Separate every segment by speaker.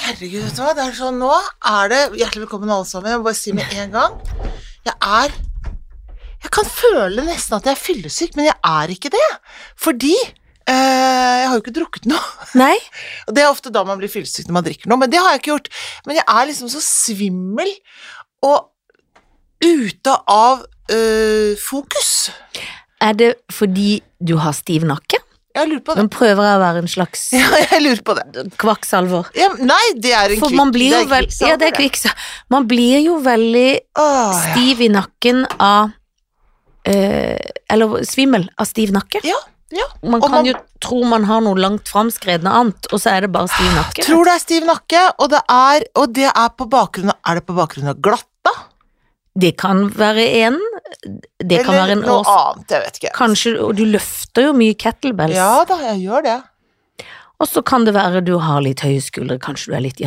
Speaker 1: herregud, vet du hva. Det er sånn, nå er det Hjertelig velkommen, alle sammen. Jeg må bare si med en gang Jeg er Jeg kan føle nesten at jeg er fyllesyk, men jeg er ikke det. Fordi eh, jeg har jo ikke drukket noe.
Speaker 2: Nei?
Speaker 1: Og det er ofte da man blir fyllesyk når man drikker noe, men det har jeg ikke gjort. Men jeg er liksom så svimmel og ute av eh, fokus.
Speaker 2: Er det fordi du har stiv nakke?
Speaker 1: Jeg lurer på det.
Speaker 2: Nå prøver jeg å være en slags
Speaker 1: Ja, jeg lurer på det.
Speaker 2: kvakksalver.
Speaker 1: Ja, nei, det er en
Speaker 2: For man blir jo vel- Ja, det er kvikksal- Man blir jo veldig
Speaker 1: Åh, ja.
Speaker 2: stiv i nakken av eh, Eller svimmel av stiv nakke.
Speaker 1: Ja, ja.
Speaker 2: Man
Speaker 1: Og
Speaker 2: kan
Speaker 1: man-
Speaker 2: jo tro man har noe langt framskredne annet, og så er det bare stiv nakke.
Speaker 1: Tror det er stiv nakke, og det er, og det er på bakgrunn av Er det på bakgrunn av glatta?
Speaker 2: Det kan være en Det kan være en
Speaker 1: noe
Speaker 2: års...
Speaker 1: annet, jeg vet ikke.
Speaker 2: Kanskje, og du løfter jo mye kettlebells.
Speaker 1: Ja da, jeg gjør det.
Speaker 2: Og så kan det være du har litt høye skuldre, kanskje du er litt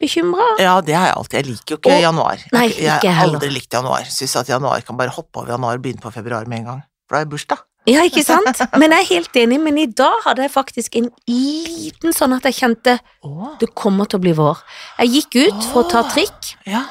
Speaker 2: januarbekymra.
Speaker 1: Ja, det har jeg alltid. Jeg liker jo ikke
Speaker 2: Og-
Speaker 1: januar. Jeg-
Speaker 2: Nei, ikke
Speaker 1: jeg har
Speaker 2: heller.
Speaker 1: aldri likt januar. Syns at januar kan bare hoppe over januar og begynne på februar med en gang. For da er jeg bursdag.
Speaker 2: Ja, ikke sant? Men jeg er helt enig, men i dag hadde jeg faktisk en liten sånn at jeg kjente
Speaker 1: Åh,
Speaker 2: det kommer til å bli vår. Jeg gikk ut for å ta
Speaker 1: Åh.
Speaker 2: trikk
Speaker 1: ja.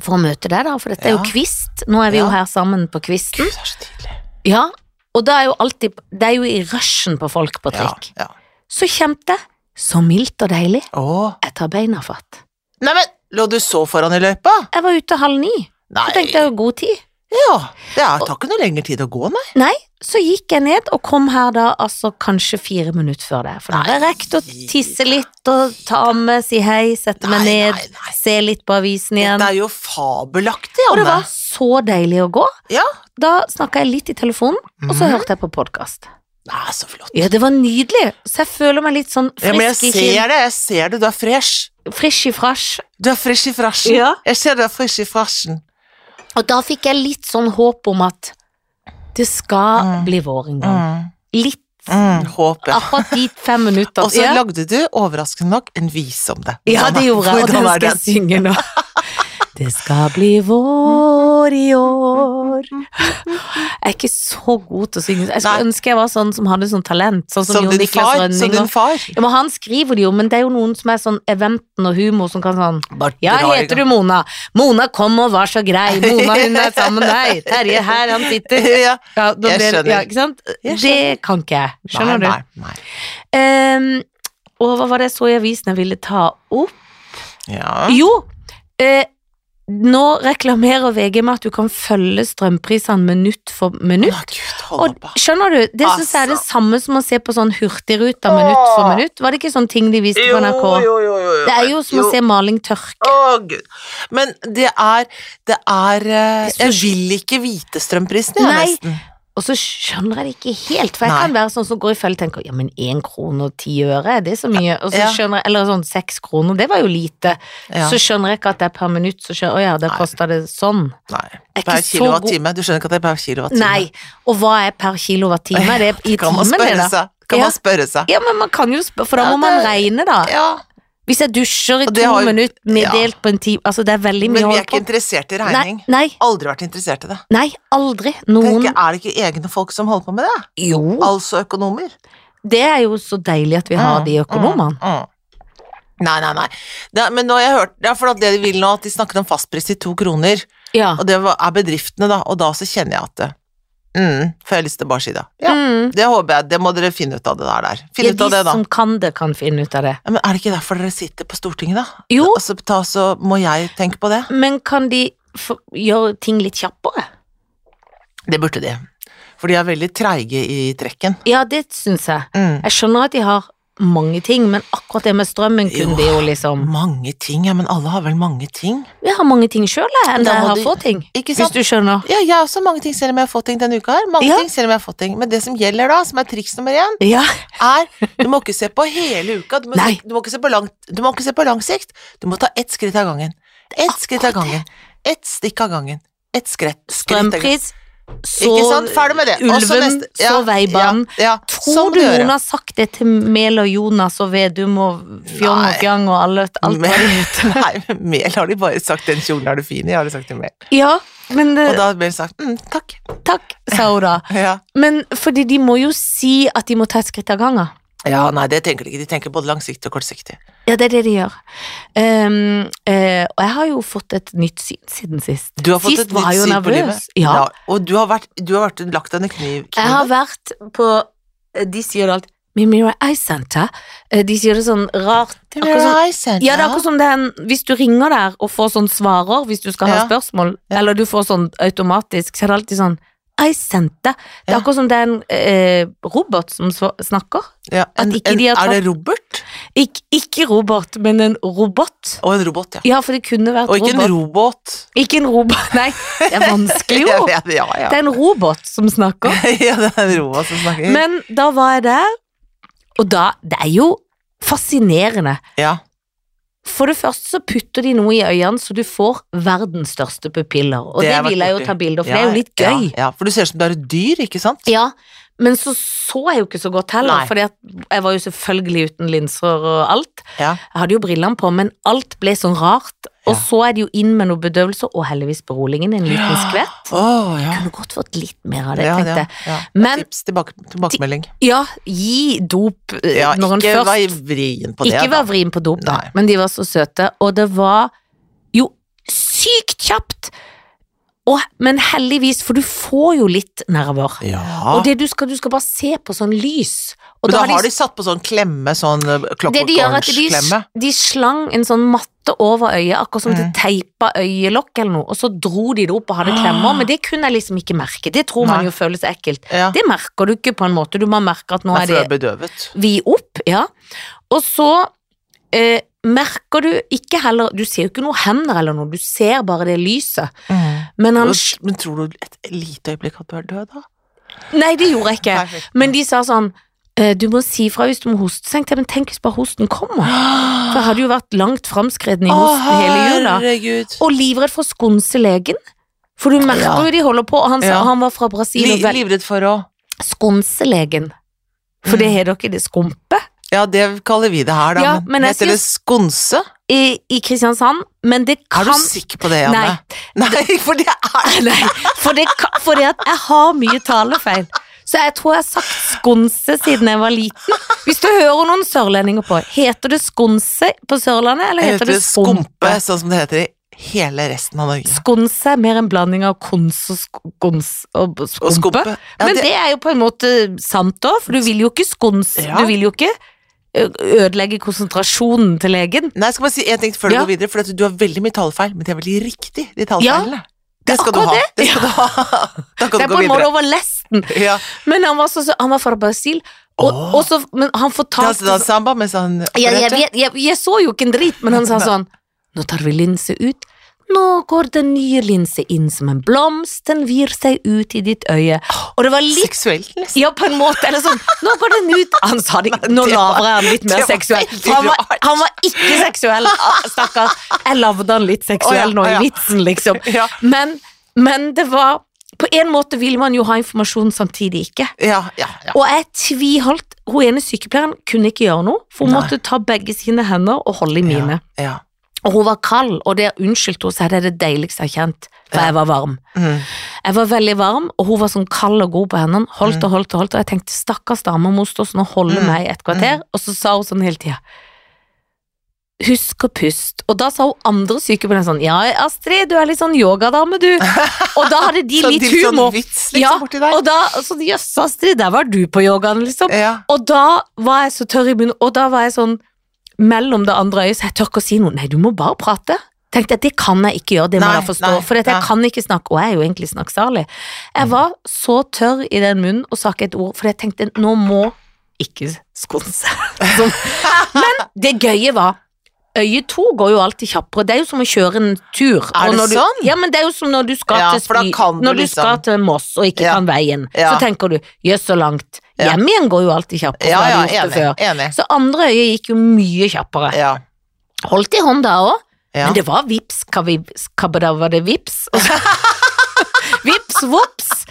Speaker 2: for å møte deg, da, for dette er
Speaker 1: Ja.
Speaker 2: jo kvist. Nå er vi jo
Speaker 1: Ja.
Speaker 2: her sammen på kvisten.
Speaker 1: Gud, det er så tidlig.
Speaker 2: Ja, og det er jo alltid Det er jo i rushen på folk på
Speaker 1: Ja,
Speaker 2: trikk.
Speaker 1: ja.
Speaker 2: Så kjente jeg så mildt og deilig.
Speaker 1: Åh.
Speaker 2: Jeg tar beina fatt.
Speaker 1: Neimen, lå du så foran i løypa?
Speaker 2: Jeg var ute halv ni.
Speaker 1: Nei.
Speaker 2: Så tenkte jeg jo god tid.
Speaker 1: Ja. Det er, tar ikke noe lengre tid å gå, nei.
Speaker 2: Nei, så gikk jeg ned og kom her da altså kanskje fire minutter før det. For da har jeg
Speaker 1: Nei.
Speaker 2: rekt å tisse litt og ta med, si hei, sette meg
Speaker 1: Nei,
Speaker 2: ned,
Speaker 1: nei, nei.
Speaker 2: se litt på avisen igjen.
Speaker 1: Dette er jo fabelaktig,
Speaker 2: Og
Speaker 1: Anne.
Speaker 2: det var så deilig å gå.
Speaker 1: Ja.
Speaker 2: Da snakka jeg litt i telefonen, og så
Speaker 1: Mhm.
Speaker 2: hørte jeg på podkast.
Speaker 1: Nei, så flott.
Speaker 2: Ja, det var nydelig. Så jeg føler meg litt sånn
Speaker 1: Ja, men jeg
Speaker 2: frisk i
Speaker 1: ser det, jeg ser det. Du er fresh.
Speaker 2: kinn- frisk i frasch.
Speaker 1: Du er fresh i frasjen.
Speaker 2: Ja.
Speaker 1: Jeg ser du er fresh i frasjen.
Speaker 2: Og da fikk jeg litt sånn håp om at det skal
Speaker 1: Mm.
Speaker 2: bli vår en gang.
Speaker 1: Mm.
Speaker 2: Litt.
Speaker 1: Mm. Håper jeg.
Speaker 2: Akkurat de fem minutter.
Speaker 1: Og så
Speaker 2: Ja.
Speaker 1: lagde du, overraskende nok, en vise om det. Sånn
Speaker 2: Ja, det gjorde jeg, og sånn
Speaker 1: Hvordan
Speaker 2: den
Speaker 1: er
Speaker 2: skal jeg
Speaker 1: den?
Speaker 2: synge nå. Det skal bli vår i år Jeg er ikke så god til å synge. Jeg skulle
Speaker 1: Nei.
Speaker 2: ønske jeg var sånn som hadde sånn talent, sånn som,
Speaker 1: Som
Speaker 2: Jon
Speaker 1: din
Speaker 2: Niklas
Speaker 1: far. Som
Speaker 2: Rønning.
Speaker 1: din
Speaker 2: og-
Speaker 1: far.
Speaker 2: Ja, men han skriver det jo, men det er jo noen som er sånn eventen og humor som kan sånn
Speaker 1: Bare
Speaker 2: ja,
Speaker 1: drar i
Speaker 2: heter du
Speaker 1: gang.
Speaker 2: Mona? Mona kom og var så grei. Mona, hun er sammen med deg. Terje her, han sitter.
Speaker 1: ja.
Speaker 2: Ja, da
Speaker 1: Jeg
Speaker 2: blir-
Speaker 1: skjønner.
Speaker 2: Ja, ikke sant?
Speaker 1: Jeg
Speaker 2: Det kan ikke jeg. Skjønner du?
Speaker 1: nei, Nei, nei.
Speaker 2: Ehm, og hva var det jeg så i avisen jeg ville ta opp?
Speaker 1: Ja.
Speaker 2: Jo, eh, nå reklamerer VG med at du kan følge strømprisene minutt for
Speaker 1: Å,
Speaker 2: minutt.
Speaker 1: Gud, hold
Speaker 2: Og
Speaker 1: opp. da.
Speaker 2: skjønner du, det synes jeg er det
Speaker 1: Altså.
Speaker 2: samme som å se på sånn hurtigruta minutt for
Speaker 1: Åh.
Speaker 2: minutt. Var det ikke sånn ting de viste på NRK?
Speaker 1: jo, jo, jo.
Speaker 2: Det er jo som å se maling tørke.
Speaker 1: Å, Gud. Men det er Det er eh,
Speaker 2: Det er så-
Speaker 1: Jeg vil ikke vite strømprisen, jeg,
Speaker 2: Nei.
Speaker 1: nesten.
Speaker 2: Og så skjønner jeg det ikke helt, for jeg
Speaker 1: Nei.
Speaker 2: kan være sånn som går i følge og tenker ja, men én krone og ti øre, det er så mye, og så
Speaker 1: Ja.
Speaker 2: skjønner jeg, eller sånn seks kroner, det var jo lite.
Speaker 1: Ja.
Speaker 2: Så skjønner jeg ikke at det er per minutt, så skjønner jeg, å ja, det
Speaker 1: Nei.
Speaker 2: koster det sånn.
Speaker 1: Nei.
Speaker 2: Er ikke
Speaker 1: Per
Speaker 2: så
Speaker 1: kilowattime. Du skjønner ikke at det er per kilowattime?
Speaker 2: Nei, og hva er per kilowattime? Det er i
Speaker 1: Kan man
Speaker 2: timen, det,
Speaker 1: spørre
Speaker 2: da.
Speaker 1: seg. Kan
Speaker 2: Ja.
Speaker 1: man spørre seg.
Speaker 2: Ja, men man kan jo spørre, for da
Speaker 1: Ja,
Speaker 2: må man
Speaker 1: det-
Speaker 2: regne, da.
Speaker 1: Ja,
Speaker 2: Hvis jeg dusjer i
Speaker 1: Og
Speaker 2: to
Speaker 1: det har jo-
Speaker 2: minutter med
Speaker 1: ja.
Speaker 2: delt på en time, altså det er veldig
Speaker 1: Men vi
Speaker 2: mye å
Speaker 1: er ikke
Speaker 2: holde på.
Speaker 1: interessert i
Speaker 2: Nei,
Speaker 1: regning.
Speaker 2: nei,
Speaker 1: Aldri vært interessert i det.
Speaker 2: nei, aldri. Noen
Speaker 1: Tenker, er det ikke egne folk som holder på med det?
Speaker 2: Jo,
Speaker 1: Altså økonomer.
Speaker 2: det er jo så deilig at vi har
Speaker 1: Mm,
Speaker 2: de økonomene.
Speaker 1: Mm, mm. Nei, nei, nei. Det, er- men nå har jeg hørt, det er for at det de vil nå, at de snakket om fastpris til to kroner,
Speaker 2: Ja.
Speaker 1: og det var- er bedriftene da, og da så kjenner jeg at det, mm, får jeg lyst til å bare si det. Ja,
Speaker 2: Mm.
Speaker 1: det håper jeg, det må dere finne ut av det der. der. Finn
Speaker 2: ja,
Speaker 1: ut av
Speaker 2: de
Speaker 1: det da.
Speaker 2: som kan det, kan finne ut av det.
Speaker 1: Ja, men er det ikke derfor dere sitter på Stortinget da?
Speaker 2: Jo,
Speaker 1: Altså, ta, så må jeg tenke på det.
Speaker 2: men kan de få- gjøre ting litt kjappere?
Speaker 1: Det burde de. For de er veldig treige i trekken.
Speaker 2: Ja, det syns jeg.
Speaker 1: Mm.
Speaker 2: Jeg skjønner at de har mange ting, men akkurat det med strømmen kunne
Speaker 1: Jo.
Speaker 2: de jo liksom
Speaker 1: Mange ting, ja, men alle har vel mange ting?
Speaker 2: Jeg har mange ting sjøl, jeg, enn
Speaker 1: Da
Speaker 2: det jeg
Speaker 1: må
Speaker 2: har
Speaker 1: du-
Speaker 2: få ting.
Speaker 1: Ikke
Speaker 2: Hvis
Speaker 1: sant?
Speaker 2: du skjønner.
Speaker 1: Ja, jeg har også mange ting selv om jeg har fått ting denne uka her. Mange
Speaker 2: Ja.
Speaker 1: ting selv om jeg har fått ting. Men det som gjelder da, som er triks nummer én,
Speaker 2: Ja.
Speaker 1: er du må ikke se på hele uka. Du må,
Speaker 2: Nei.
Speaker 1: du må, ikke, se på langt, du må ikke se på lang sikt. Du må ta ett skritt av gangen. Ett skritt av gangen. Ett stikk av gangen. Ett skritt. skritt av gangen.
Speaker 2: Strømpris, så
Speaker 1: Ikke sant? Ferdig med det. Og så
Speaker 2: ulven,
Speaker 1: neste-
Speaker 2: så veibanen.
Speaker 1: Ja, ja. Sånn må
Speaker 2: Tror du
Speaker 1: gjøre.
Speaker 2: noen har sagt det til Mehl og Jonas og Vedum og Fjong
Speaker 1: Nei.
Speaker 2: og Fjang og alle, alt hva de heter?
Speaker 1: Nei, Mel har de bare sagt 'den kjolen er du fin i', har de sagt til Mel.
Speaker 2: Ja, men eh,
Speaker 1: Og da har Mel sagt mm, 'takk'.
Speaker 2: Takk, sa hun da.
Speaker 1: Ja.
Speaker 2: Men fordi de må jo si at de må ta et skritt av gangen.
Speaker 1: Ja, nei, det tenker de ikke. De tenker både langsiktig og kortsiktig.
Speaker 2: Ja, det er det de gjør. Ehm, eh, og jeg har jo fått et nytt syn siden sist.
Speaker 1: Du har fått
Speaker 2: sist
Speaker 1: et nytt
Speaker 2: jeg jo
Speaker 1: syn på livet.
Speaker 2: nervøs. Ja.
Speaker 1: og du har vært, du har vært lagt av en kniv.
Speaker 2: Jeg har vært på eh, De sier det alt Mimira Eye Center. Eh, De sier det sånn rart. Akkurat som, ja, det er akkurat som det er en, hvis du ringer der og får sånn svarer hvis du skal ha
Speaker 1: Ja.
Speaker 2: spørsmål,
Speaker 1: Ja.
Speaker 2: eller du får sånn automatisk, så er det alltid sånn Eye Center. Det er
Speaker 1: Ja.
Speaker 2: akkurat som det er en eh, robot som sva- snakker.
Speaker 1: ja, en,
Speaker 2: ikke de
Speaker 1: en,
Speaker 2: har
Speaker 1: Er det Robert?
Speaker 2: Ik ikke robot, men en robot.
Speaker 1: Og en robot, ja.
Speaker 2: Ja, for det kunne vært
Speaker 1: Og ikke
Speaker 2: robot.
Speaker 1: en robot.
Speaker 2: Ikke en robot, nei. Det er vanskelig, jo.
Speaker 1: Ja, ja, ja.
Speaker 2: Det er en robot som snakker.
Speaker 1: ja, det er en robot som snakker.
Speaker 2: Men da var jeg der, og da Det er jo fascinerende.
Speaker 1: ja.
Speaker 2: For det første så putter de noe i øynene, så du får verdens største pupiller. Og
Speaker 1: Det
Speaker 2: det,
Speaker 1: har vært
Speaker 2: vil jeg jo
Speaker 1: borti.
Speaker 2: ta bilde av, for
Speaker 1: ja,
Speaker 2: det er jo litt gøy.
Speaker 1: Ja, ja, for du ser ut som du er et dyr, ikke sant?
Speaker 2: Ja. Men så så jeg jo ikke så godt heller,
Speaker 1: Nei.
Speaker 2: for jeg var jo selvfølgelig uten linser og alt.
Speaker 1: Ja.
Speaker 2: Jeg hadde jo brillene på, men alt ble sånn rart. Og
Speaker 1: Ja.
Speaker 2: så er det jo inn med noe bedøvelse, og heldigvis beroligende, en liten
Speaker 1: Ja.
Speaker 2: skvett.
Speaker 1: Å, ja.
Speaker 2: Kunne godt fått litt mer av det,
Speaker 1: ja,
Speaker 2: tenkte jeg.
Speaker 1: ja, ja.
Speaker 2: Men-
Speaker 1: Tips, tilbake, tilbakemelding.
Speaker 2: Ja, gi dop eh,
Speaker 1: Ja,
Speaker 2: når en
Speaker 1: ikke
Speaker 2: først
Speaker 1: vær vrien på det.
Speaker 2: Ikke
Speaker 1: da.
Speaker 2: vær vrien på dop, da.
Speaker 1: Nei.
Speaker 2: Men de var så søte, og det var jo sykt kjapt! Og, men heldigvis, for du får jo litt nerver.
Speaker 1: Ja.
Speaker 2: Og det du skal, du skal bare se på sånn lys. Og
Speaker 1: Men da har de satt på sånn klemme, sånn eh,
Speaker 2: det
Speaker 1: Clockwork
Speaker 2: de gjør, er at de,
Speaker 1: Orange-klemme.
Speaker 2: de slang en sånn matte over øyet, akkurat som det
Speaker 1: Mm.
Speaker 2: teipa øyelokk eller noe, og så dro de det opp og hadde
Speaker 1: Ah.
Speaker 2: klemmer, men det kunne jeg liksom ikke merke. Det tror
Speaker 1: Nei.
Speaker 2: man jo føles ekkelt.
Speaker 1: Ja.
Speaker 2: Det merker du ikke på en måte, du må merke at nå
Speaker 1: Nei,
Speaker 2: er
Speaker 1: for
Speaker 2: det
Speaker 1: du er bedøvet.
Speaker 2: vi opp, ja. Og så eh, merker du ikke heller Du ser jo ikke noen hender eller noe, du ser bare det lyset. Men han
Speaker 1: Og- Men tror du et lite øyeblikk at du er død, da?
Speaker 2: Nei, det gjorde jeg ikke.
Speaker 1: Nei, fy-
Speaker 2: Men de sa sånn eh, Du må si fra hvis du må hoste. Så tenkte jeg, men tenk hvis bare hosten kommer? For jeg hadde jo vært langt framskreden i hosten hele jula.
Speaker 1: herregud.
Speaker 2: Og livredd for å skonse legen. For du merker
Speaker 1: Ja.
Speaker 2: jo de holder på, og han, sa,
Speaker 1: Ja.
Speaker 2: han var fra Brasil.
Speaker 1: Li Mm.
Speaker 2: og vel,
Speaker 1: livredd for å
Speaker 2: skonse legen. For det har dere i det skumpe
Speaker 1: Ja, det kaller vi det her, da.
Speaker 2: Ja,
Speaker 1: men
Speaker 2: men jeg
Speaker 1: heter det skonse?
Speaker 2: i, i Kristiansand, men det kan
Speaker 1: Er du sikker på det, Janne? Nei, for det er
Speaker 2: Nei, for det, ka- for det at jeg har mye talefeil. Så jeg tror jeg har sagt skonse siden jeg var liten. Hvis du hører noen sørlendinger på, heter det skonse på Sørlandet, eller heter det skumpe?
Speaker 1: sånn som det heter i hele resten av Norge.
Speaker 2: Skonse er mer en blanding av kons og skons og
Speaker 1: Og
Speaker 2: b- skumpe.
Speaker 1: skumpe. Ja,
Speaker 2: Men
Speaker 1: det,
Speaker 2: det er jo på en måte sant òg, for du vil jo ikke skonse
Speaker 1: Ja.
Speaker 2: Du vil jo ikke ø- ødelegge konsentrasjonen til legen.
Speaker 1: nei, jeg skal bare si en ting før du
Speaker 2: Ja.
Speaker 1: går videre, for at du har veldig mye talefeil, men de er veldig riktig, de talefeilene.
Speaker 2: det er
Speaker 1: skal du
Speaker 2: akkurat
Speaker 1: ha. Det skal du ha. Da
Speaker 2: Det
Speaker 1: kan
Speaker 2: er
Speaker 1: du
Speaker 2: på
Speaker 1: gå
Speaker 2: en måte
Speaker 1: videre.
Speaker 2: over lesten.
Speaker 1: Ja.
Speaker 2: Men han var, så, sø- han var fra Brasil, og,
Speaker 1: Åh.
Speaker 2: og så, men han
Speaker 1: Danse
Speaker 2: fortalte
Speaker 1: dans altså samba sånn mens han
Speaker 2: Ja, jeg,
Speaker 1: opererte.
Speaker 2: vet, jeg, jeg så jo ikke en drit, men han sa sånn Nå tar vi linse ut. Nå går den nye linse inn som en blomst, den vir seg ut i ditt øye. Og det var litt
Speaker 1: Seksuelt, nesten.
Speaker 2: ja, på en måte, eller sånn Nå går den ut Han sa det ikke, nå
Speaker 1: det var-
Speaker 2: laver jeg han litt mer
Speaker 1: det var
Speaker 2: seksuell.
Speaker 1: veldig
Speaker 2: For han var,
Speaker 1: rart.
Speaker 2: han var ikke seksuell, ah, stakkar. Jeg lagde han litt
Speaker 1: Å, ja,
Speaker 2: seksuell nå
Speaker 1: å,
Speaker 2: i
Speaker 1: ja.
Speaker 2: vitsen, liksom.
Speaker 1: Ja.
Speaker 2: Men, men det var På en måte vil man jo ha informasjon samtidig ikke.
Speaker 1: Ja, ja, ja.
Speaker 2: Og jeg tviholdt Hun ene sykepleieren kunne ikke gjøre noe, for hun
Speaker 1: Nei.
Speaker 2: måtte ta begge sine hender og holde i mine.
Speaker 1: Ja.
Speaker 2: Og hun var kald, og der unnskyldte hun seg, det er det deiligste jeg har kjent, for
Speaker 1: Ja.
Speaker 2: jeg var varm.
Speaker 1: ja. Mm.
Speaker 2: Jeg var veldig varm, og hun var sånn kald og god på hendene, holdt og holdt og holdt, og jeg tenkte, stakkars dame, hun må stå sånn og holde
Speaker 1: Mm.
Speaker 2: meg i et kvarter, og så sa hun sånn hele tida. Husk å puste. Og da sa hun andre sykepleiere sånn Ja, Astrid, du er litt sånn yogadame, du. Og da hadde de
Speaker 1: Så
Speaker 2: litt
Speaker 1: det er Sånn
Speaker 2: humor.
Speaker 1: vits liksom,
Speaker 2: Ja,
Speaker 1: borti der.
Speaker 2: og da sånn Jøss, Astrid, der var du på yogaen, liksom.
Speaker 1: Ja.
Speaker 2: Og da var jeg så tørr i munnen, og da var jeg sånn mellom det andre øyet, så jeg tør ikke å si noe. Nei, du må bare prate. Tenkte jeg, Det kan jeg ikke gjøre, det må
Speaker 1: Nei,
Speaker 2: jeg forstå,
Speaker 1: nei, Mm.
Speaker 2: for jeg
Speaker 1: nei.
Speaker 2: kan ikke snakke, og jeg er jo egentlig snakksalig. Jeg var så tørr i den munnen og sa ikke et ord, for jeg tenkte nå må ikke skonse. Som- Men det gøye var Øye to går jo alltid kjappere, det er jo som å kjøre en tur.
Speaker 1: Er det
Speaker 2: når du,
Speaker 1: sånn?
Speaker 2: Ja, men det er jo som når du skal,
Speaker 1: Ja,
Speaker 2: til,
Speaker 1: for da
Speaker 2: Spy-
Speaker 1: kan du
Speaker 2: når du
Speaker 1: liksom-
Speaker 2: skal til Moss og ikke
Speaker 1: Ja.
Speaker 2: kan veien.
Speaker 1: Ja.
Speaker 2: Så tenker du jøss, så langt.
Speaker 1: Ja.
Speaker 2: Hjem igjen går jo alltid kjappere. for
Speaker 1: Ja,
Speaker 2: da
Speaker 1: ja,
Speaker 2: har du gjort det
Speaker 1: enig.
Speaker 2: før.
Speaker 1: enig.
Speaker 2: Så andre øyet gikk jo mye kjappere.
Speaker 1: Ja,
Speaker 2: Holdt i hånda òg,
Speaker 1: ja.
Speaker 2: men det var vips, kabibs, kabada var det vips. Og så, vips, vops.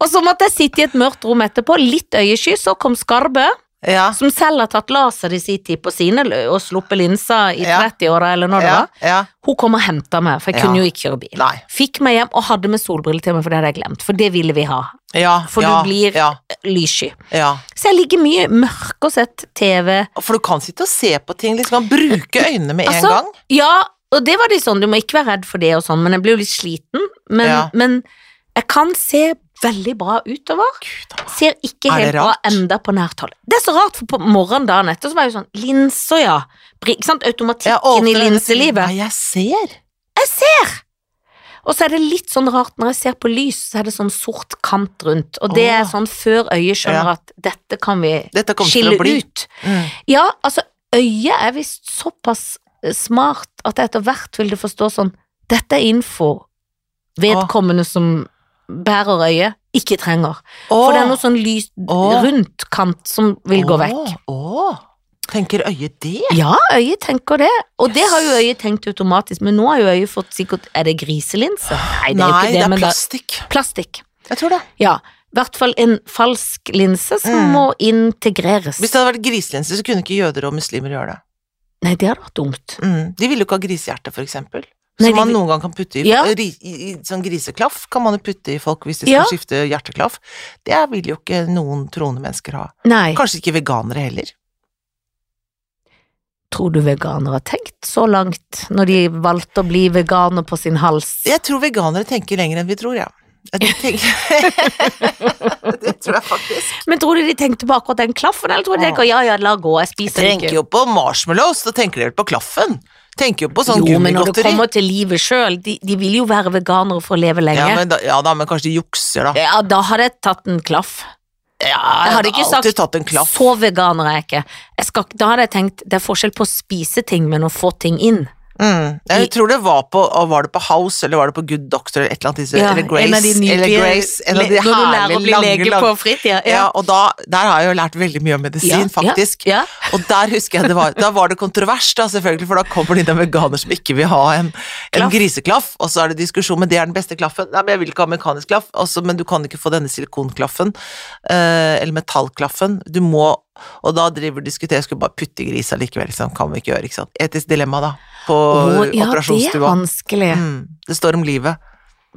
Speaker 2: Og så måtte jeg sitte i et mørkt rom etterpå, litt øyesky, så kom skarbe,
Speaker 1: Ja.
Speaker 2: som selv har tatt laser i sin tid på sine lø- og sluppet linsa i
Speaker 1: Ja.
Speaker 2: 30-åra eller når det
Speaker 1: ja,
Speaker 2: var,
Speaker 1: ja.
Speaker 2: hun kom og henta meg, for jeg
Speaker 1: Ja.
Speaker 2: kunne jo ikke kjøre bil.
Speaker 1: Nei.
Speaker 2: Fikk meg hjem og hadde med solbriller til meg, for det hadde jeg glemt, for det ville vi ha.
Speaker 1: Ja,
Speaker 2: For du
Speaker 1: ja,
Speaker 2: blir-
Speaker 1: ja,
Speaker 2: Lyssky.
Speaker 1: ja.
Speaker 2: Så jeg ligger mye mørk og sett TV.
Speaker 1: For du kan sitte og se på ting, liksom. Kan bruke øynene med
Speaker 2: Altså,
Speaker 1: en gang.
Speaker 2: Ja, og det var litt sånn, du må ikke være redd for det og sånn, men jeg ble jo litt sliten. Men,
Speaker 1: Ja.
Speaker 2: men jeg kan se veldig bra utover.
Speaker 1: Gud, da.
Speaker 2: Ser ikke
Speaker 1: Er det
Speaker 2: helt bra
Speaker 1: rart?
Speaker 2: enda på nært hold. Det er så rart, for på morgenen dagen etter så var jeg jo sånn Linser, ja. Bri- Ikke sant,
Speaker 1: Jeg
Speaker 2: automatikken
Speaker 1: åpner
Speaker 2: i
Speaker 1: øynene og sier,
Speaker 2: linselivet.
Speaker 1: Nei, jeg ser.
Speaker 2: Og så er det litt sånn rart når jeg ser på lys, så er det sånn sort kant rundt. Og det er
Speaker 1: Åh.
Speaker 2: sånn før øyet skjønner
Speaker 1: Ja.
Speaker 2: at dette kan vi
Speaker 1: Dette kommer til
Speaker 2: skille
Speaker 1: å bli.
Speaker 2: ut.
Speaker 1: Mm.
Speaker 2: Ja, altså, øyet er visst såpass eh, smart at jeg etter hvert vil det forstå sånn Dette er info vedkommende som bærer øyet, ikke trenger. For det er noe sånn lys
Speaker 1: Åh.
Speaker 2: rundt kant som vil gå vekk.
Speaker 1: Å, tenker øyet det?
Speaker 2: Ja, øyet tenker det, og det har jo øyet tenkt automatisk, men nå har jo øyet fått sikkert Er det griselinse? Nei, det er jo
Speaker 1: Nei,
Speaker 2: ikke det,
Speaker 1: det er
Speaker 2: men det er
Speaker 1: plastikk.
Speaker 2: plastikk.
Speaker 1: Jeg tror det.
Speaker 2: Ja. I hvert fall en falsk linse som
Speaker 1: Mm.
Speaker 2: må integreres.
Speaker 1: Hvis det hadde vært griselinse, så kunne ikke jøder og muslimer gjøre det.
Speaker 2: Nei, det hadde vært dumt.
Speaker 1: Mm. De ville jo ikke ha grisehjerte, for eksempel.
Speaker 2: Nei,
Speaker 1: Som
Speaker 2: de
Speaker 1: man
Speaker 2: vil-
Speaker 1: noen gang kan putte i,
Speaker 2: Ja.
Speaker 1: ri, i, i Sånn griseklaff kan man jo putte i folk hvis de skal
Speaker 2: Ja.
Speaker 1: skifte hjerteklaff. Det vil jo ikke noen troende mennesker ha.
Speaker 2: Nei.
Speaker 1: Kanskje ikke veganere heller.
Speaker 2: Tror du veganere har tenkt så langt når de valgte å bli veganer på sin hals?
Speaker 1: Jeg tror veganere tenker lenger enn vi tror, ja. Jeg tenker- det tror jeg faktisk.
Speaker 2: Men tror du de tenkte på akkurat den klaffen, eller tror de tenker ja ja, la gå, jeg spiser
Speaker 1: Tenker
Speaker 2: ikke?
Speaker 1: jo på marshmallows, da tenker de vel på klaffen. Tenker jo på sånn
Speaker 2: jo, men når det
Speaker 1: gummigodteri.
Speaker 2: kommer til livet sjøl, de, de vil jo være veganere for å leve lenge.
Speaker 1: Ja,
Speaker 2: Ja,
Speaker 1: men da, ja da, men kanskje de jukser, da.
Speaker 2: da hadde jeg tatt en klaff.
Speaker 1: Ja,
Speaker 2: Jeg hadde ikke
Speaker 1: alltid
Speaker 2: sagt
Speaker 1: tatt en klaff.
Speaker 2: så veganer er jeg ikke. Jeg skal, ikke- da hadde jeg tenkt det er forskjell på å spise ting, men å få ting inn.
Speaker 1: Mm.
Speaker 2: I-
Speaker 1: Jeg tror det var på og Var det på House, eller var det på Good Doctor, eller et eller annet disse, eller Grace, eller Grace, en av de
Speaker 2: le- Når du lærer
Speaker 1: herlige,
Speaker 2: å bli
Speaker 1: lange,
Speaker 2: lege på
Speaker 1: lange
Speaker 2: fritida.
Speaker 1: ja, og da, der har jeg jo lært veldig mye om medisin, faktisk.
Speaker 2: Ja,
Speaker 1: Og der husker jeg det var Da var det kontrovers, da, selvfølgelig, for da kommer det inn en veganer som ikke vil ha en, en
Speaker 2: Klaff.
Speaker 1: griseklaff, og så er det diskusjon, men det er den beste klaffen. Nei, men jeg vil ikke ha mekanisk klaff, altså, men du kan ikke få denne silikonklaffen, eh, eller metallklaffen. Du må Og da driver diskuterer, jeg skulle bare putte grisa likevel, liksom. Kan vi ikke gjøre, ikke sant. Etisk dilemma, da, på
Speaker 2: Å, ja det er
Speaker 1: operasjonsstua.
Speaker 2: vanskelig.
Speaker 1: Mm, det står om livet.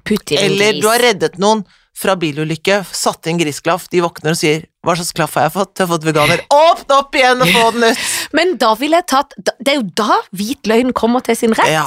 Speaker 2: Putt i en
Speaker 1: Eller
Speaker 2: gris.
Speaker 1: du har reddet noen fra bilulykke, satt inn grisklaff, de våkner og sier 'hva slags klaff har jeg fått', jeg har fått veganer. Åpne opp igjen og få den ut!
Speaker 2: Men da ville jeg tatt da- Det er jo da hvit løgn kommer til sin rett.
Speaker 1: Ja.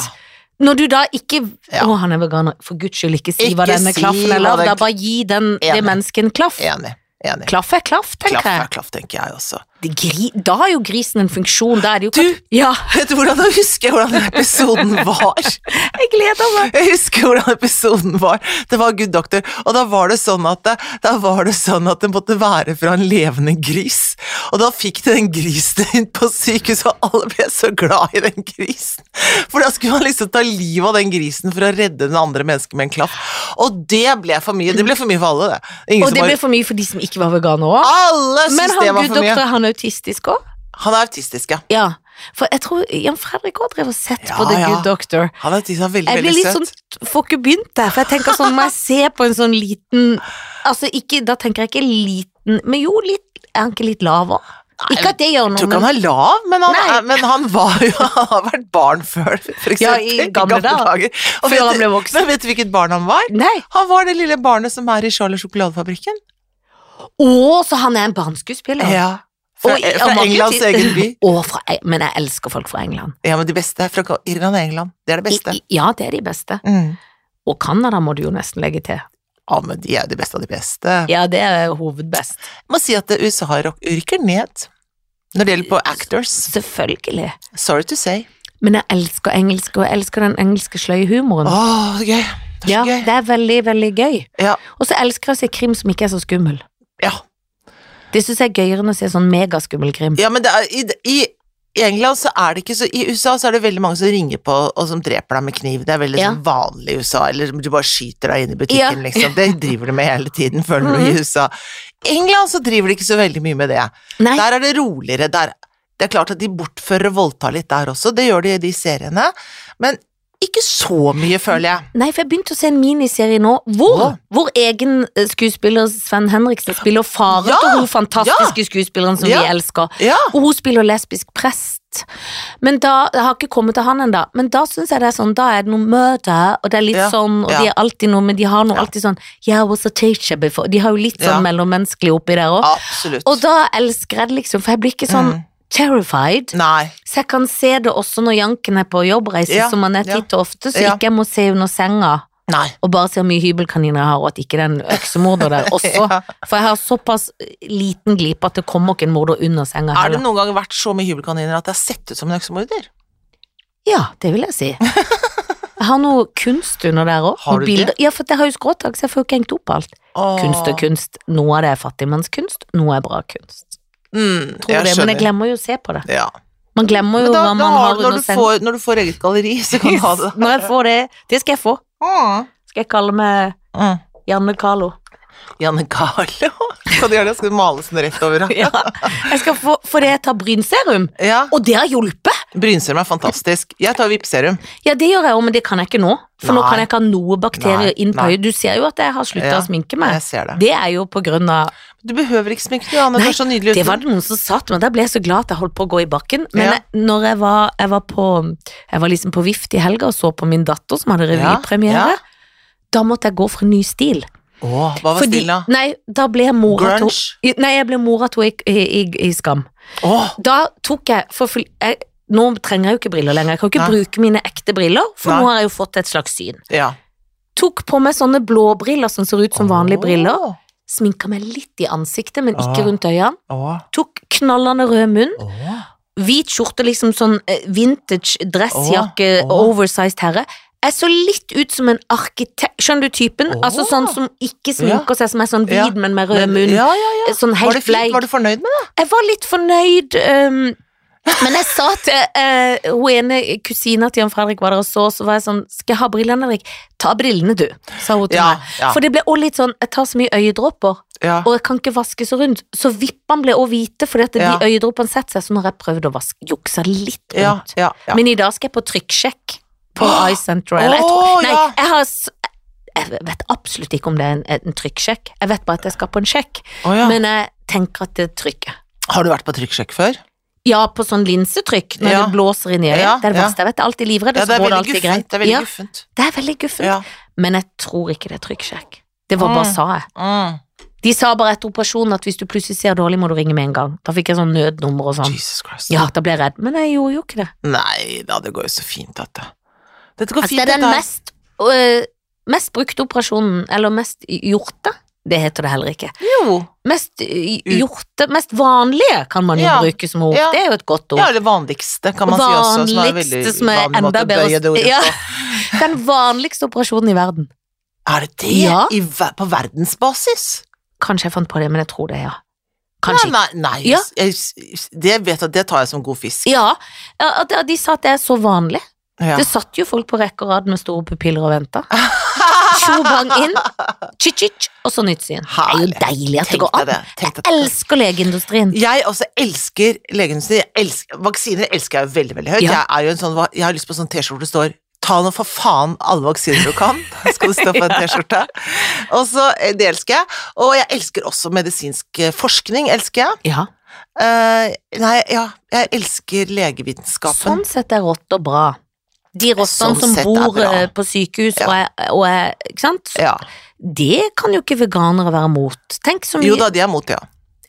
Speaker 2: Når du da ikke
Speaker 1: Ja.
Speaker 2: Å, han er veganer. For guds skyld, ikke si
Speaker 1: Ikke
Speaker 2: hva denne
Speaker 1: si
Speaker 2: klaffen
Speaker 1: hva
Speaker 2: er lagd
Speaker 1: den-
Speaker 2: av. Bare gi den, det
Speaker 1: Enig.
Speaker 2: mennesket en klaff.
Speaker 1: Enig. enig.
Speaker 2: Klaff er klaff, tenker
Speaker 1: Klaff er
Speaker 2: jeg.
Speaker 1: klaff, tenker jeg også.
Speaker 2: Det Gri, da er jo grisen en funksjon. Da er det jo
Speaker 1: Du-
Speaker 2: kat- Ja,
Speaker 1: Vet du hvordan jeg husker hvordan den episoden var?
Speaker 2: jeg gleder meg.
Speaker 1: Jeg husker hvordan episoden var. Det var Good Doctor, og da var det sånn at det, da var det sånn at det måtte være fra en levende gris. Og da fikk de den grisen inn på sykehuset, og alle ble så glad i den grisen. For da skulle man liksom ta livet av den grisen for å redde den andre mennesket med en klaff. Og det ble for mye. Det ble for mye for alle, det. Ingen
Speaker 2: Og det
Speaker 1: som
Speaker 2: ble
Speaker 1: var
Speaker 2: for mye for de som ikke var veganere òg.
Speaker 1: Alle
Speaker 2: Men
Speaker 1: syntes
Speaker 2: han
Speaker 1: det var
Speaker 2: Gud
Speaker 1: for
Speaker 2: doktor,
Speaker 1: mye.
Speaker 2: er han autistisk òg?
Speaker 1: Han er autistisk, ja.
Speaker 2: Ja. For jeg tror Jan Fredrik òg drev og sett på
Speaker 1: Ja,
Speaker 2: The
Speaker 1: ja.
Speaker 2: Good Doctor.
Speaker 1: Han er autistisk, han er veldig,
Speaker 2: Jeg blir
Speaker 1: veldig
Speaker 2: litt
Speaker 1: søt.
Speaker 2: sånn, får ikke begynt der, for jeg tenker sånn, må jeg se på en sånn liten Altså, ikke, da tenker jeg ikke liten, men jo, litt, er han ikke litt lavere? Ikke at det gjør
Speaker 1: Jeg
Speaker 2: noe,
Speaker 1: tror ikke
Speaker 2: men
Speaker 1: han er lav, men han,
Speaker 2: Nei.
Speaker 1: er, men han var jo Han har vært barn før, for eksempel.
Speaker 2: Ja, i gamle dager.
Speaker 1: Og
Speaker 2: Før
Speaker 1: vet
Speaker 2: han
Speaker 1: du-
Speaker 2: ble voksen.
Speaker 1: Men vet du hvilket barn han var?
Speaker 2: Nei.
Speaker 1: Han var det lille barnet som er i Charles sjokoladefabrikken.
Speaker 2: Å, så han er en barneskuespiller.
Speaker 1: Fra,
Speaker 2: Og i-
Speaker 1: fra
Speaker 2: og mange
Speaker 1: Englands
Speaker 2: ti-
Speaker 1: egen by.
Speaker 2: Å, fra, Eng- men jeg elsker folk fra England.
Speaker 1: Ja, men de beste er fra Irland og England. Det er det
Speaker 2: I,
Speaker 1: beste.
Speaker 2: i, ja, det er de beste.
Speaker 1: Mm.
Speaker 2: Og Canada må du jo nesten legge til.
Speaker 1: Ja, men de er jo de beste av de beste.
Speaker 2: Ja, det er hovedbest.
Speaker 1: Jeg må si at eh, USA rok- rykker ned når det gjelder på actors.
Speaker 2: Selvfølgelig.
Speaker 1: Sorry to say.
Speaker 2: Men jeg elsker engelsk, og jeg elsker den engelske sløye humoren.
Speaker 1: Å, så gøy. Det
Speaker 2: Mm.
Speaker 1: er
Speaker 2: ja,
Speaker 1: så gøy.
Speaker 2: det er veldig, veldig gøy.
Speaker 1: Ja.
Speaker 2: Og så elsker jeg å se krim som ikke er så skummel.
Speaker 1: Ja.
Speaker 2: Det syns jeg er gøyere enn å se sånn megaskummel krim.
Speaker 1: Ja, men det er, i, i i England så er det ikke så I USA så er det veldig mange som ringer på og som dreper deg med kniv. Det er veldig
Speaker 2: Ja.
Speaker 1: sånn vanlig i USA, eller du bare skyter deg inn i butikken,
Speaker 2: Ja. Mhm.
Speaker 1: liksom. Det driver de med hele tiden, føler du, i USA. I England så driver de ikke så veldig mye med det.
Speaker 2: Nei,
Speaker 1: Der er det roligere. Der, det er klart at de bortfører og voldtar litt der også, det gjør de i de seriene. Men Ikke så mye, føler jeg.
Speaker 2: Nei, for jeg begynte å se en miniserie nå hvor
Speaker 1: Åh.
Speaker 2: vår egen eh, skuespiller Sven Henriksen spiller faren
Speaker 1: Ja,
Speaker 2: til hun fantastiske skuespilleren som
Speaker 1: Ja. Ah!
Speaker 2: vi elsker.
Speaker 1: Ja.
Speaker 2: Og hun spiller lesbisk prest. Men da, Jeg har ikke kommet til han ennå, men da syns jeg det er sånn Da er det noe møte, og det er litt
Speaker 1: Ja,
Speaker 2: sånn, og
Speaker 1: ja.
Speaker 2: de er alltid noe Men de har noe
Speaker 1: Ja.
Speaker 2: alltid sånn Yeah, I was a teacher before. De har jo litt sånn
Speaker 1: Ja. Ah,
Speaker 2: mellommenneskelig oppi der òg.
Speaker 1: Absolutt.
Speaker 2: Og da elsker jeg det, liksom, for jeg blir ikke sånn
Speaker 1: Mm.
Speaker 2: terrified.
Speaker 1: Nei.
Speaker 2: Så jeg kan se det også når Janken er på jobbreise,
Speaker 1: Ja,
Speaker 2: som han er
Speaker 1: ja.
Speaker 2: titt og ofte, så
Speaker 1: Ja.
Speaker 2: ikke jeg må se under senga
Speaker 1: Nei.
Speaker 2: og bare se hvor mye hybelkaniner jeg har, og at ikke det er en øksemorder der også.
Speaker 1: Ja.
Speaker 2: For jeg har såpass liten glipe at det kommer ikke en morder under senga
Speaker 1: Er det
Speaker 2: heller.
Speaker 1: noen gang vært så mye hybelkaniner at det har sett ut som en øksemorder?
Speaker 2: Ja, det vil jeg si. Jeg har noe kunst under der òg.
Speaker 1: Har du
Speaker 2: Ja, for jeg har jo skråtak, så jeg får jo ikke hengt opp alt.
Speaker 1: Åh.
Speaker 2: Kunst og kunst. Noe av det er fattigmannskunst, noe er bra kunst.
Speaker 1: Mm,
Speaker 2: Tror det, men jeg glemmer jo å se på det.
Speaker 1: Ja.
Speaker 2: Man glemmer
Speaker 1: Men
Speaker 2: jo
Speaker 1: da,
Speaker 2: hva
Speaker 1: da,
Speaker 2: man har
Speaker 1: når, du
Speaker 2: under senga.
Speaker 1: får, når du får eget galleri, så kan du ha det.
Speaker 2: Når jeg får det, det skal jeg få.
Speaker 1: Mm.
Speaker 2: Skal jeg kalle meg
Speaker 1: Mm.
Speaker 2: Janne Carlo.
Speaker 1: Janne Carlo. Skal du gjøre det? Skal du male sånn rett over? da?
Speaker 2: Ja. Jeg skal få, for det jeg tar brynserum,
Speaker 1: Ja.
Speaker 2: og det har hjulpet.
Speaker 1: Brynserum er fantastisk. Jeg tar vippserum.
Speaker 2: Ja, det gjør jeg òg, men det kan jeg ikke nå. For nå
Speaker 1: Nei.
Speaker 2: kan jeg ikke ha noe bakterier
Speaker 1: Nei,
Speaker 2: inn på
Speaker 1: nei.
Speaker 2: øyet. Du ser jo at jeg har slutta
Speaker 1: Ja,
Speaker 2: å sminke meg.
Speaker 1: Jeg ser det.
Speaker 2: Det er jo på grunn av
Speaker 1: Du behøver ikke sminke deg, Anne. Du
Speaker 2: Nei,
Speaker 1: er så nydelig
Speaker 2: Det
Speaker 1: uten.
Speaker 2: var det noen som sa til meg, da ble jeg så glad at jeg holdt på å gå i bakken. Men
Speaker 1: Ja.
Speaker 2: jeg, når jeg var, jeg var på Jeg var liksom på Vift i helga og så på min datter som hadde
Speaker 1: Ja,
Speaker 2: revypremiere.
Speaker 1: ja.
Speaker 2: Da måtte jeg gå for en ny stil.
Speaker 1: Åh, hva var
Speaker 2: Fordi-
Speaker 1: stilen, da?
Speaker 2: Nei, da ble jeg mora til
Speaker 1: Grunge?
Speaker 2: I- Nei, jeg ble mora til henne i, i, i, i Skam.
Speaker 1: Åh,
Speaker 2: Da tok jeg, for full- jeg Nå trenger jeg jo ikke briller lenger. Jeg kan jo ikke
Speaker 1: Nei.
Speaker 2: bruke mine ekte briller, for
Speaker 1: Nei.
Speaker 2: nå har jeg jo fått et slags syn.
Speaker 1: ja.
Speaker 2: Tok på meg sånne blåbriller som ser ut som vanlige
Speaker 1: Åh.
Speaker 2: briller. Sminka meg litt i ansiktet, men ikke
Speaker 1: Ah.
Speaker 2: rundt øynene.
Speaker 1: Åh,
Speaker 2: Tok knallende rød munn.
Speaker 1: åh.
Speaker 2: Hvit skjorte, liksom sånn eh, vintage dressjakke,
Speaker 1: Åh, åh.
Speaker 2: oversized herre. Jeg så litt ut som en arkitekt, skjønner du typen?
Speaker 1: Åh.
Speaker 2: Altså sånn som ikke sminker seg, som er sånn
Speaker 1: Ja.
Speaker 2: vid, men med rød munn.
Speaker 1: Ja, ja, ja.
Speaker 2: Eh, Sånn
Speaker 1: Var
Speaker 2: helt
Speaker 1: det fint?
Speaker 2: bleik.
Speaker 1: Var du fornøyd med det?
Speaker 2: Jeg var litt fornøyd, ehm, men jeg sa til eh, hun ene kusina til Jan Fredrik var der og så, så var jeg sånn Skal jeg ha brillene, Henrik? Ta brillene, du, sa hun til
Speaker 1: Ja,
Speaker 2: meg.
Speaker 1: ja.
Speaker 2: For det ble også litt sånn Jeg tar så mye øyedråper,
Speaker 1: ja.
Speaker 2: og jeg kan ikke vaske så rundt. Så vippene ble også hvite, fordi at
Speaker 1: Ja.
Speaker 2: de øyedråpene setter seg, så nå har jeg prøvd å vaske juksa litt
Speaker 1: Ja,
Speaker 2: rundt.
Speaker 1: ja, ja.
Speaker 2: Men i dag skal jeg på trykksjekk på
Speaker 1: Åh!
Speaker 2: iCenter. Eller jeg
Speaker 1: Åh,
Speaker 2: tror Nei,
Speaker 1: ja.
Speaker 2: jeg har s- Jeg vet absolutt ikke om det er en, en trykksjekk. Jeg vet bare at jeg skal på en sjekk,
Speaker 1: Åh, ja.
Speaker 2: men jeg tenker at det trykker.
Speaker 1: Har du vært på trykksjekk før?
Speaker 2: Ja, på sånn linsetrykk, når
Speaker 1: Ja.
Speaker 2: det blåser inn i øyet.
Speaker 1: Ja,
Speaker 2: det er det
Speaker 1: ja.
Speaker 2: verste jeg vet. Jeg er alltid livredd,
Speaker 1: Ja, det
Speaker 2: og så
Speaker 1: er
Speaker 2: går det
Speaker 1: veldig
Speaker 2: alltid
Speaker 1: guffent.
Speaker 2: greit.
Speaker 1: Det er veldig
Speaker 2: ja,
Speaker 1: guffent.
Speaker 2: det er veldig guffent.
Speaker 1: Ja.
Speaker 2: Men jeg tror ikke det er trykksjekk. Det var bare
Speaker 1: Mm.
Speaker 2: sa jeg.
Speaker 1: Mm.
Speaker 2: De sa bare etter operasjonen at hvis du plutselig ser dårlig, må du ringe med en gang. Da fikk jeg sånn nødnummer og sånn.
Speaker 1: Jesus Christ.
Speaker 2: Ja, da ble jeg redd. Men jeg gjorde jo ikke det.
Speaker 1: Nei da, det går jo så fint, dette. Dette går
Speaker 2: Altså, det
Speaker 1: fint,
Speaker 2: er den
Speaker 1: dette. her.
Speaker 2: mest, øh, mest brukte operasjonen, eller mest gjorte. Det heter det heller ikke.
Speaker 1: Jo.
Speaker 2: Mest øh, gjorte, mest vanlige kan man jo
Speaker 1: Ja.
Speaker 2: bruke som ord.
Speaker 1: Ja.
Speaker 2: Det er jo et godt ord.
Speaker 1: Ja, det vanligste, kan man si også. Som er veldig
Speaker 2: Vanligste som er
Speaker 1: vanlig måte å
Speaker 2: enda bedre å-
Speaker 1: bøye det ordet
Speaker 2: Ja.
Speaker 1: på.
Speaker 2: Den vanligste operasjonen i verden.
Speaker 1: Er det det?
Speaker 2: Ja.
Speaker 1: I, ver- på verdensbasis?
Speaker 2: Kanskje jeg fant på det, men jeg tror det, ja. Kanskje ikke.
Speaker 1: Nei, nei, nei.
Speaker 2: Ja.
Speaker 1: Jeg, det vet jeg, det tar jeg som god fisk.
Speaker 2: Ja, ja, at- at de sa at det er så vanlig.
Speaker 1: Ja.
Speaker 2: Det satt jo folk på rekke og rad med store pupiller og venta. Tjo bang inn, chi-chi, og så nytt syn. Det er jo
Speaker 1: Herlig.
Speaker 2: deilig at det går
Speaker 1: Tenk deg
Speaker 2: an.
Speaker 1: det. Tenk
Speaker 2: Jeg
Speaker 1: deg det.
Speaker 2: elsker legeindustrien.
Speaker 1: Jeg også elsker legemidler. Jeg elsker- Vaksiner elsker jeg jo veldig, veldig høyt.
Speaker 2: Ja.
Speaker 1: Jeg, er jo en sånn, jeg har lyst på en sånn T-skjorte det står Ta nå for faen alle vaksiner du kan, skal det stå på en T-skjorte. Og så, eh, Det elsker jeg. Og jeg elsker også medisinsk eh, forskning. elsker jeg.
Speaker 2: Ja,
Speaker 1: Eh, nei, ja, jeg elsker legevitenskapen.
Speaker 2: sånn sett er rått og bra. De rottene
Speaker 1: Sånn
Speaker 2: som
Speaker 1: sett er
Speaker 2: bor
Speaker 1: bra.
Speaker 2: eh, på sykehus og er, og er Ikke sant?
Speaker 1: Ja.
Speaker 2: Det kan jo ikke veganere være mot. Tenk så
Speaker 1: Jo
Speaker 2: mye
Speaker 1: da, de er mot det, ja.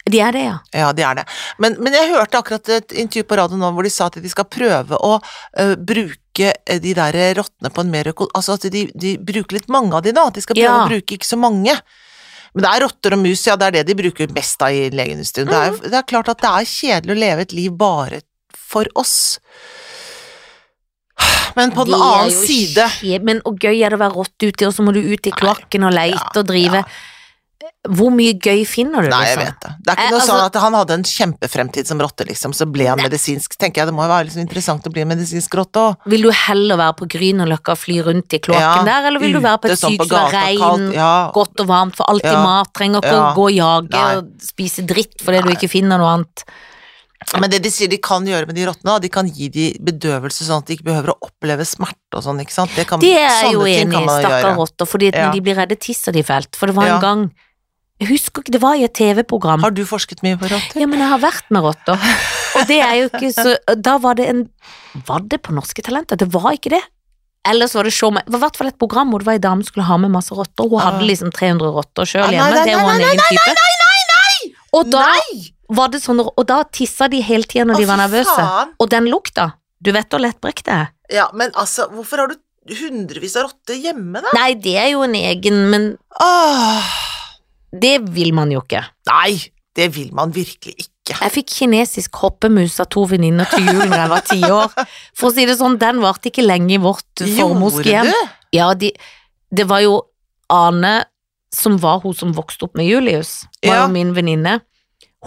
Speaker 2: De er det, ja.
Speaker 1: Ja, det er det. Men, men jeg hørte akkurat et intervju på radio nå hvor de sa at de skal prøve å øh, bruke eh, de der rottene på en mer øko... Altså at de, de bruker litt mange av de, da. At de skal prøve
Speaker 2: Ja.
Speaker 1: å bruke ikke så mange. Men det er rotter og mus, ja, det er det de bruker mest av i legeindustrien. Det, er,
Speaker 2: Mm.
Speaker 1: jo- det er klart at det er kjedelig å leve et liv bare for oss. Men på den
Speaker 2: De er
Speaker 1: annen
Speaker 2: jo
Speaker 1: side
Speaker 2: skje- Men og gøy er det å være rått ute, og så må du ut i kloakken og leite
Speaker 1: ja,
Speaker 2: og drive. Hvor mye gøy finner du,
Speaker 1: Nei, jeg
Speaker 2: liksom?
Speaker 1: vet det. Det er
Speaker 2: Eh,
Speaker 1: ikke noe
Speaker 2: altså-
Speaker 1: sånn at han hadde en kjempefremtid som rotte, liksom, så ble han medisinsk. Tenker jeg, Det må jo være liksom interessant å bli en medisinsk rotte òg.
Speaker 2: Vil du heller være på Grünerløkka og fly rundt i
Speaker 1: Ja,
Speaker 2: kloakken der, eller vil du være på et
Speaker 1: ute, sånn
Speaker 2: sykehus
Speaker 1: gata,
Speaker 2: og regn,
Speaker 1: kaldt, ja.
Speaker 2: godt og varmt, for alltid
Speaker 1: Ja,
Speaker 2: mat, trenger ikke å
Speaker 1: ja,
Speaker 2: gå og jage
Speaker 1: nei.
Speaker 2: og spise dritt fordi du
Speaker 1: Nei.
Speaker 2: ikke finner noe annet?
Speaker 1: Men det de sier de kan gjøre med de rottene, da, de kan gi de bedøvelse sånn at de ikke behøver å oppleve smerte og sånn, ikke sant. Det, kan,
Speaker 2: Det er
Speaker 1: sånne
Speaker 2: jo
Speaker 1: ting
Speaker 2: enig
Speaker 1: kan
Speaker 2: i,
Speaker 1: man
Speaker 2: stakkar
Speaker 1: gjøre.
Speaker 2: rotter, fordi at
Speaker 1: Ja.
Speaker 2: når de blir redde, tisser de fælt. For det var en
Speaker 1: Ja.
Speaker 2: gang Jeg husker ikke, det var i et TV-program.
Speaker 1: Har du forsket mye på rotter?
Speaker 2: Ja, men jeg har vært med rotter. Og det er jo ikke så Da var det en Var det på Norske Talenter? Det var ikke det. Ellers var det show med, det var i hvert fall et program hvor det var ei dame som skulle ha med masse rotter. Hun hadde
Speaker 1: Ah.
Speaker 2: liksom 300
Speaker 1: Ah,
Speaker 2: rotter sjøl
Speaker 1: nei, nei,
Speaker 2: hjemme. Det
Speaker 1: nei,
Speaker 2: var en
Speaker 1: nei,
Speaker 2: egen type. Og da
Speaker 1: Nei!
Speaker 2: var det sånn Og da tissa de hele tida når
Speaker 1: Å,
Speaker 2: de var
Speaker 1: fy
Speaker 2: nervøse.
Speaker 1: faen.
Speaker 2: Og den lukta. Du vet hvor lettbrekt det er.
Speaker 1: Ja, men altså, hvorfor har du hundrevis av rotter hjemme, da?
Speaker 2: Nei, det er jo en egen, men
Speaker 1: Åh.
Speaker 2: det vil man jo ikke.
Speaker 1: Nei, det vil man virkelig ikke.
Speaker 2: Jeg fikk kinesisk hoppemus av to venninner til jul da jeg var ti år. For å si det sånn, den varte ikke lenge i vårt formoske hjem.
Speaker 1: du?
Speaker 2: Ja, de, det var jo Ane som var hun som vokste opp med Julius, var
Speaker 1: Ja.
Speaker 2: jo min venninne.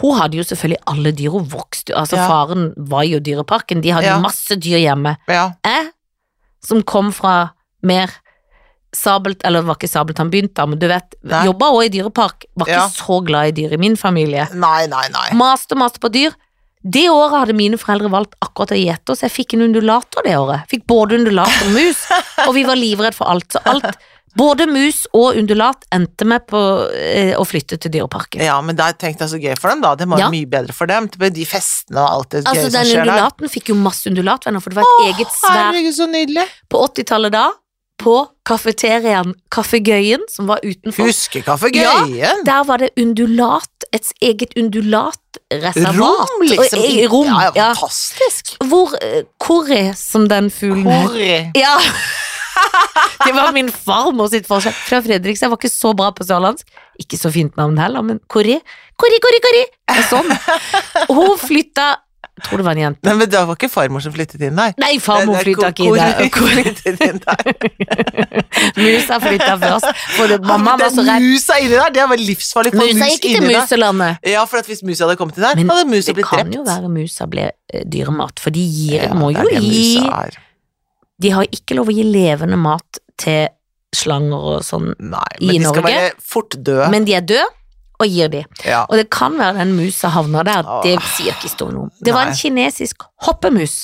Speaker 2: Hun hadde jo selvfølgelig alle dyr, hun vokste jo, altså
Speaker 1: Ja.
Speaker 2: faren var jo i dyreparken, de hadde
Speaker 1: Ja.
Speaker 2: masse dyr hjemme.
Speaker 1: Ja.
Speaker 2: Jeg, som kom fra mer sabelt, eller det var ikke sabelt han begynte, men du vet,
Speaker 1: Nei.
Speaker 2: jobbet også i dyrepark, var ikke
Speaker 1: Ja.
Speaker 2: så glad i dyr i min familie.
Speaker 1: Nei, nei, nei.
Speaker 2: Maste, maste på dyr. Det året hadde mine foreldre valgt akkurat å gjete oss. Jeg fikk en undulator det året. Fikk både undulat og mus, og vi var livredd for alt. Så alt, både mus og undulat endte med på eh, å flytte til dyreparken.
Speaker 1: Ja, men der tenkte jeg så gøy for dem, da. Det må jo
Speaker 2: Ja.
Speaker 1: mye bedre for dem. Med de festene og alt det
Speaker 2: Altså,
Speaker 1: gøye som
Speaker 2: den
Speaker 1: skjer der.
Speaker 2: undulaten fikk jo masse undulatvenner, for det var et eget svær
Speaker 1: Herregud, så nydelig.
Speaker 2: På 80-tallet da, på kafeteriaen Kaffegøyen, som var utenfor,
Speaker 1: Huskekaffe,
Speaker 2: Ja,
Speaker 1: gøyen.
Speaker 2: der var det undulat, et eget undulatreservat.
Speaker 1: Rom, liksom.
Speaker 2: Og, eh, Rom,
Speaker 1: ja, ja,
Speaker 2: ja.
Speaker 1: fantastisk.
Speaker 2: Hvor eh, Kori, som den fuglen het.
Speaker 1: Hvor-
Speaker 2: Ja Det var min farmor sitt forskjell Fra Fredrikstad, jeg var ikke så bra på sørlandsk Ikke så fint navn heller, men Kori Kori, Kori, Kori Det er Sånn Hun flytta Jeg tror det var en jente
Speaker 1: Nei, men det var ikke farmor som flyttet inn der.
Speaker 2: Nei, farmor
Speaker 1: Det- det-
Speaker 2: flytta ikke
Speaker 1: hvor-
Speaker 2: i det
Speaker 1: hvor flyttet inn der.
Speaker 2: Musa flytta først For det, mamma var så redd
Speaker 1: Musa inni der, det var livsfarlig. for
Speaker 2: Musa
Speaker 1: mus
Speaker 2: gikk til
Speaker 1: inni der.
Speaker 2: muselandet
Speaker 1: Ja, for at hvis musa hadde kommet inn der,
Speaker 2: Men
Speaker 1: hadde musa
Speaker 2: Det
Speaker 1: blitt
Speaker 2: kan jo
Speaker 1: drept.
Speaker 2: være musa ble eh, dyremat For de gir,
Speaker 1: Ja,
Speaker 2: må
Speaker 1: det
Speaker 2: jo
Speaker 1: er det
Speaker 2: gi
Speaker 1: musa er.
Speaker 2: De har ikke lov å gi levende mat til slanger og sånn
Speaker 1: Nei,
Speaker 2: I
Speaker 1: men de skal
Speaker 2: Norge?
Speaker 1: være fort døde.
Speaker 2: Men de er døde og gir de
Speaker 1: Ja.
Speaker 2: Og det kan være den musa havna der, det
Speaker 1: Åh.
Speaker 2: sier ikke historien om. Det var en
Speaker 1: Nei.
Speaker 2: kinesisk hoppemus.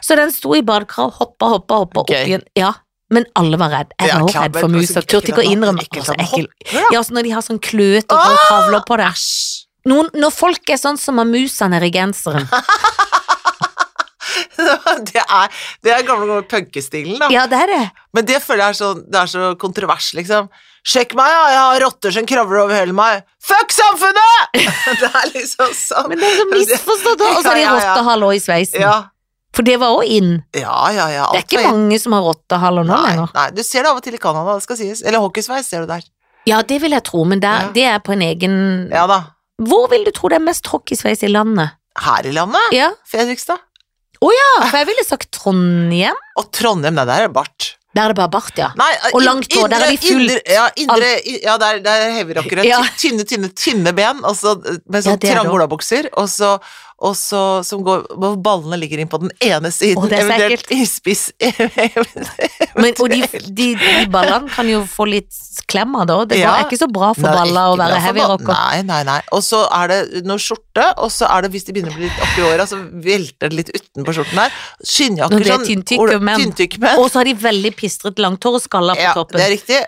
Speaker 2: Så den sto i badekar og hoppa, hoppa, hoppa opp
Speaker 1: Gøy.
Speaker 2: igjen. Ja, men alle var redd. Jeg var
Speaker 1: Ja,
Speaker 2: også
Speaker 1: klar,
Speaker 2: redd
Speaker 1: men altså,
Speaker 2: for
Speaker 1: også
Speaker 2: mus, og
Speaker 1: ekkelt
Speaker 2: turte ikke
Speaker 1: at
Speaker 2: å
Speaker 1: man-
Speaker 2: innrømme
Speaker 1: ekkelt
Speaker 2: Å, så
Speaker 1: at man
Speaker 2: ekkel.
Speaker 1: hopper, da.
Speaker 2: Ja, så når de har sånn kløt og
Speaker 1: Åh!
Speaker 2: kravler på det.
Speaker 1: Æsj!
Speaker 2: Noen, når folk er sånn som har musa nedi genseren.
Speaker 1: Det er, det er gamle, gamle punkestilen, da.
Speaker 2: Ja, det er det.
Speaker 1: Men det føler jeg er så, det er så kontrovers, liksom. Sjekk meg, ja, jeg har rotter som kravler over hele meg. Fuck samfunnet! det er liksom sånn.
Speaker 2: Men det er så misforstått òg. Og så har de
Speaker 1: Ja, ja, ja.
Speaker 2: rottehaler i sveisen.
Speaker 1: Ja,
Speaker 2: For det var òg inn.
Speaker 1: ja, ja. ja
Speaker 2: Det er
Speaker 1: alt
Speaker 2: ikke
Speaker 1: var-
Speaker 2: mange som har rottehaler nå
Speaker 1: Nei,
Speaker 2: lenger.
Speaker 1: nei, du ser det av og til i Canada, det skal sies. Eller hockeysveis ser du der.
Speaker 2: Ja, det vil jeg tro, men der,
Speaker 1: Ja.
Speaker 2: det er på en egen
Speaker 1: Ja da.
Speaker 2: Hvor vil du tro det er mest hockeysveis i landet?
Speaker 1: Her i landet,
Speaker 2: Ja,
Speaker 1: Fredrikstad.
Speaker 2: ja, for jeg ville sagt Trondheim.
Speaker 1: Og Trondheim, nei, der er det bart.
Speaker 2: Der er det bare bart, ja.
Speaker 1: Nei,
Speaker 2: Og
Speaker 1: in-
Speaker 2: langt hår, der er
Speaker 1: indre-
Speaker 2: de fullt.
Speaker 1: indre- Ja, indre, i- ja der, der er heavyrockere.
Speaker 2: Ja.
Speaker 1: Ty- Tynne, tynne, tynne ben, og så eh, med
Speaker 2: Ja,
Speaker 1: sånn
Speaker 2: det er det
Speaker 1: trange olabukser, og så og så som går, hvor ballene ligger inn på den ene siden,
Speaker 2: Å, det er så
Speaker 1: eventuelt i spiss
Speaker 2: Men, og de, de, de ballene kan jo få litt klemmer da. Det
Speaker 1: Ja.
Speaker 2: er ikke så bra for
Speaker 1: Nei,
Speaker 2: baller å
Speaker 1: ikke bra
Speaker 2: være
Speaker 1: for
Speaker 2: heavy
Speaker 1: ball-
Speaker 2: rocker.
Speaker 1: Nei, nei, nei. Og så er det noe skjorte, og så er det, hvis de begynner å bli litt oppi åra, så velter det litt utenpå skjorten der. Skinnjakker
Speaker 2: Når det er
Speaker 1: sånn.
Speaker 2: tynntykk
Speaker 1: ola-
Speaker 2: menn.
Speaker 1: tynntykk menn.
Speaker 2: Og så har de veldig pistret langt hår og skaller på
Speaker 1: Ja, det
Speaker 2: toppen.
Speaker 1: er riktig.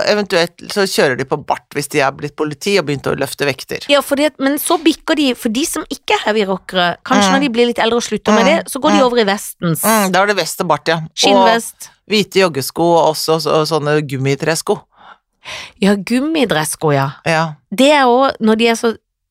Speaker 1: Eventuelt så kjører de på bart hvis de er blitt politi og begynt å løfte vekter.
Speaker 2: Ja, fordi at, men så bikker de, for de som ikke er heavy rockere, kanskje
Speaker 1: Mm.
Speaker 2: når de blir litt eldre og slutter med det, så går de
Speaker 1: Mm.
Speaker 2: over i vestens.
Speaker 1: Mm, da var det vest og bart, ja.
Speaker 2: Skinnvest.
Speaker 1: Og hvite joggesko og også så, sånne gummitresko.
Speaker 2: Ja, gummidressko, ja.
Speaker 1: Ja.
Speaker 2: Det er òg når de er så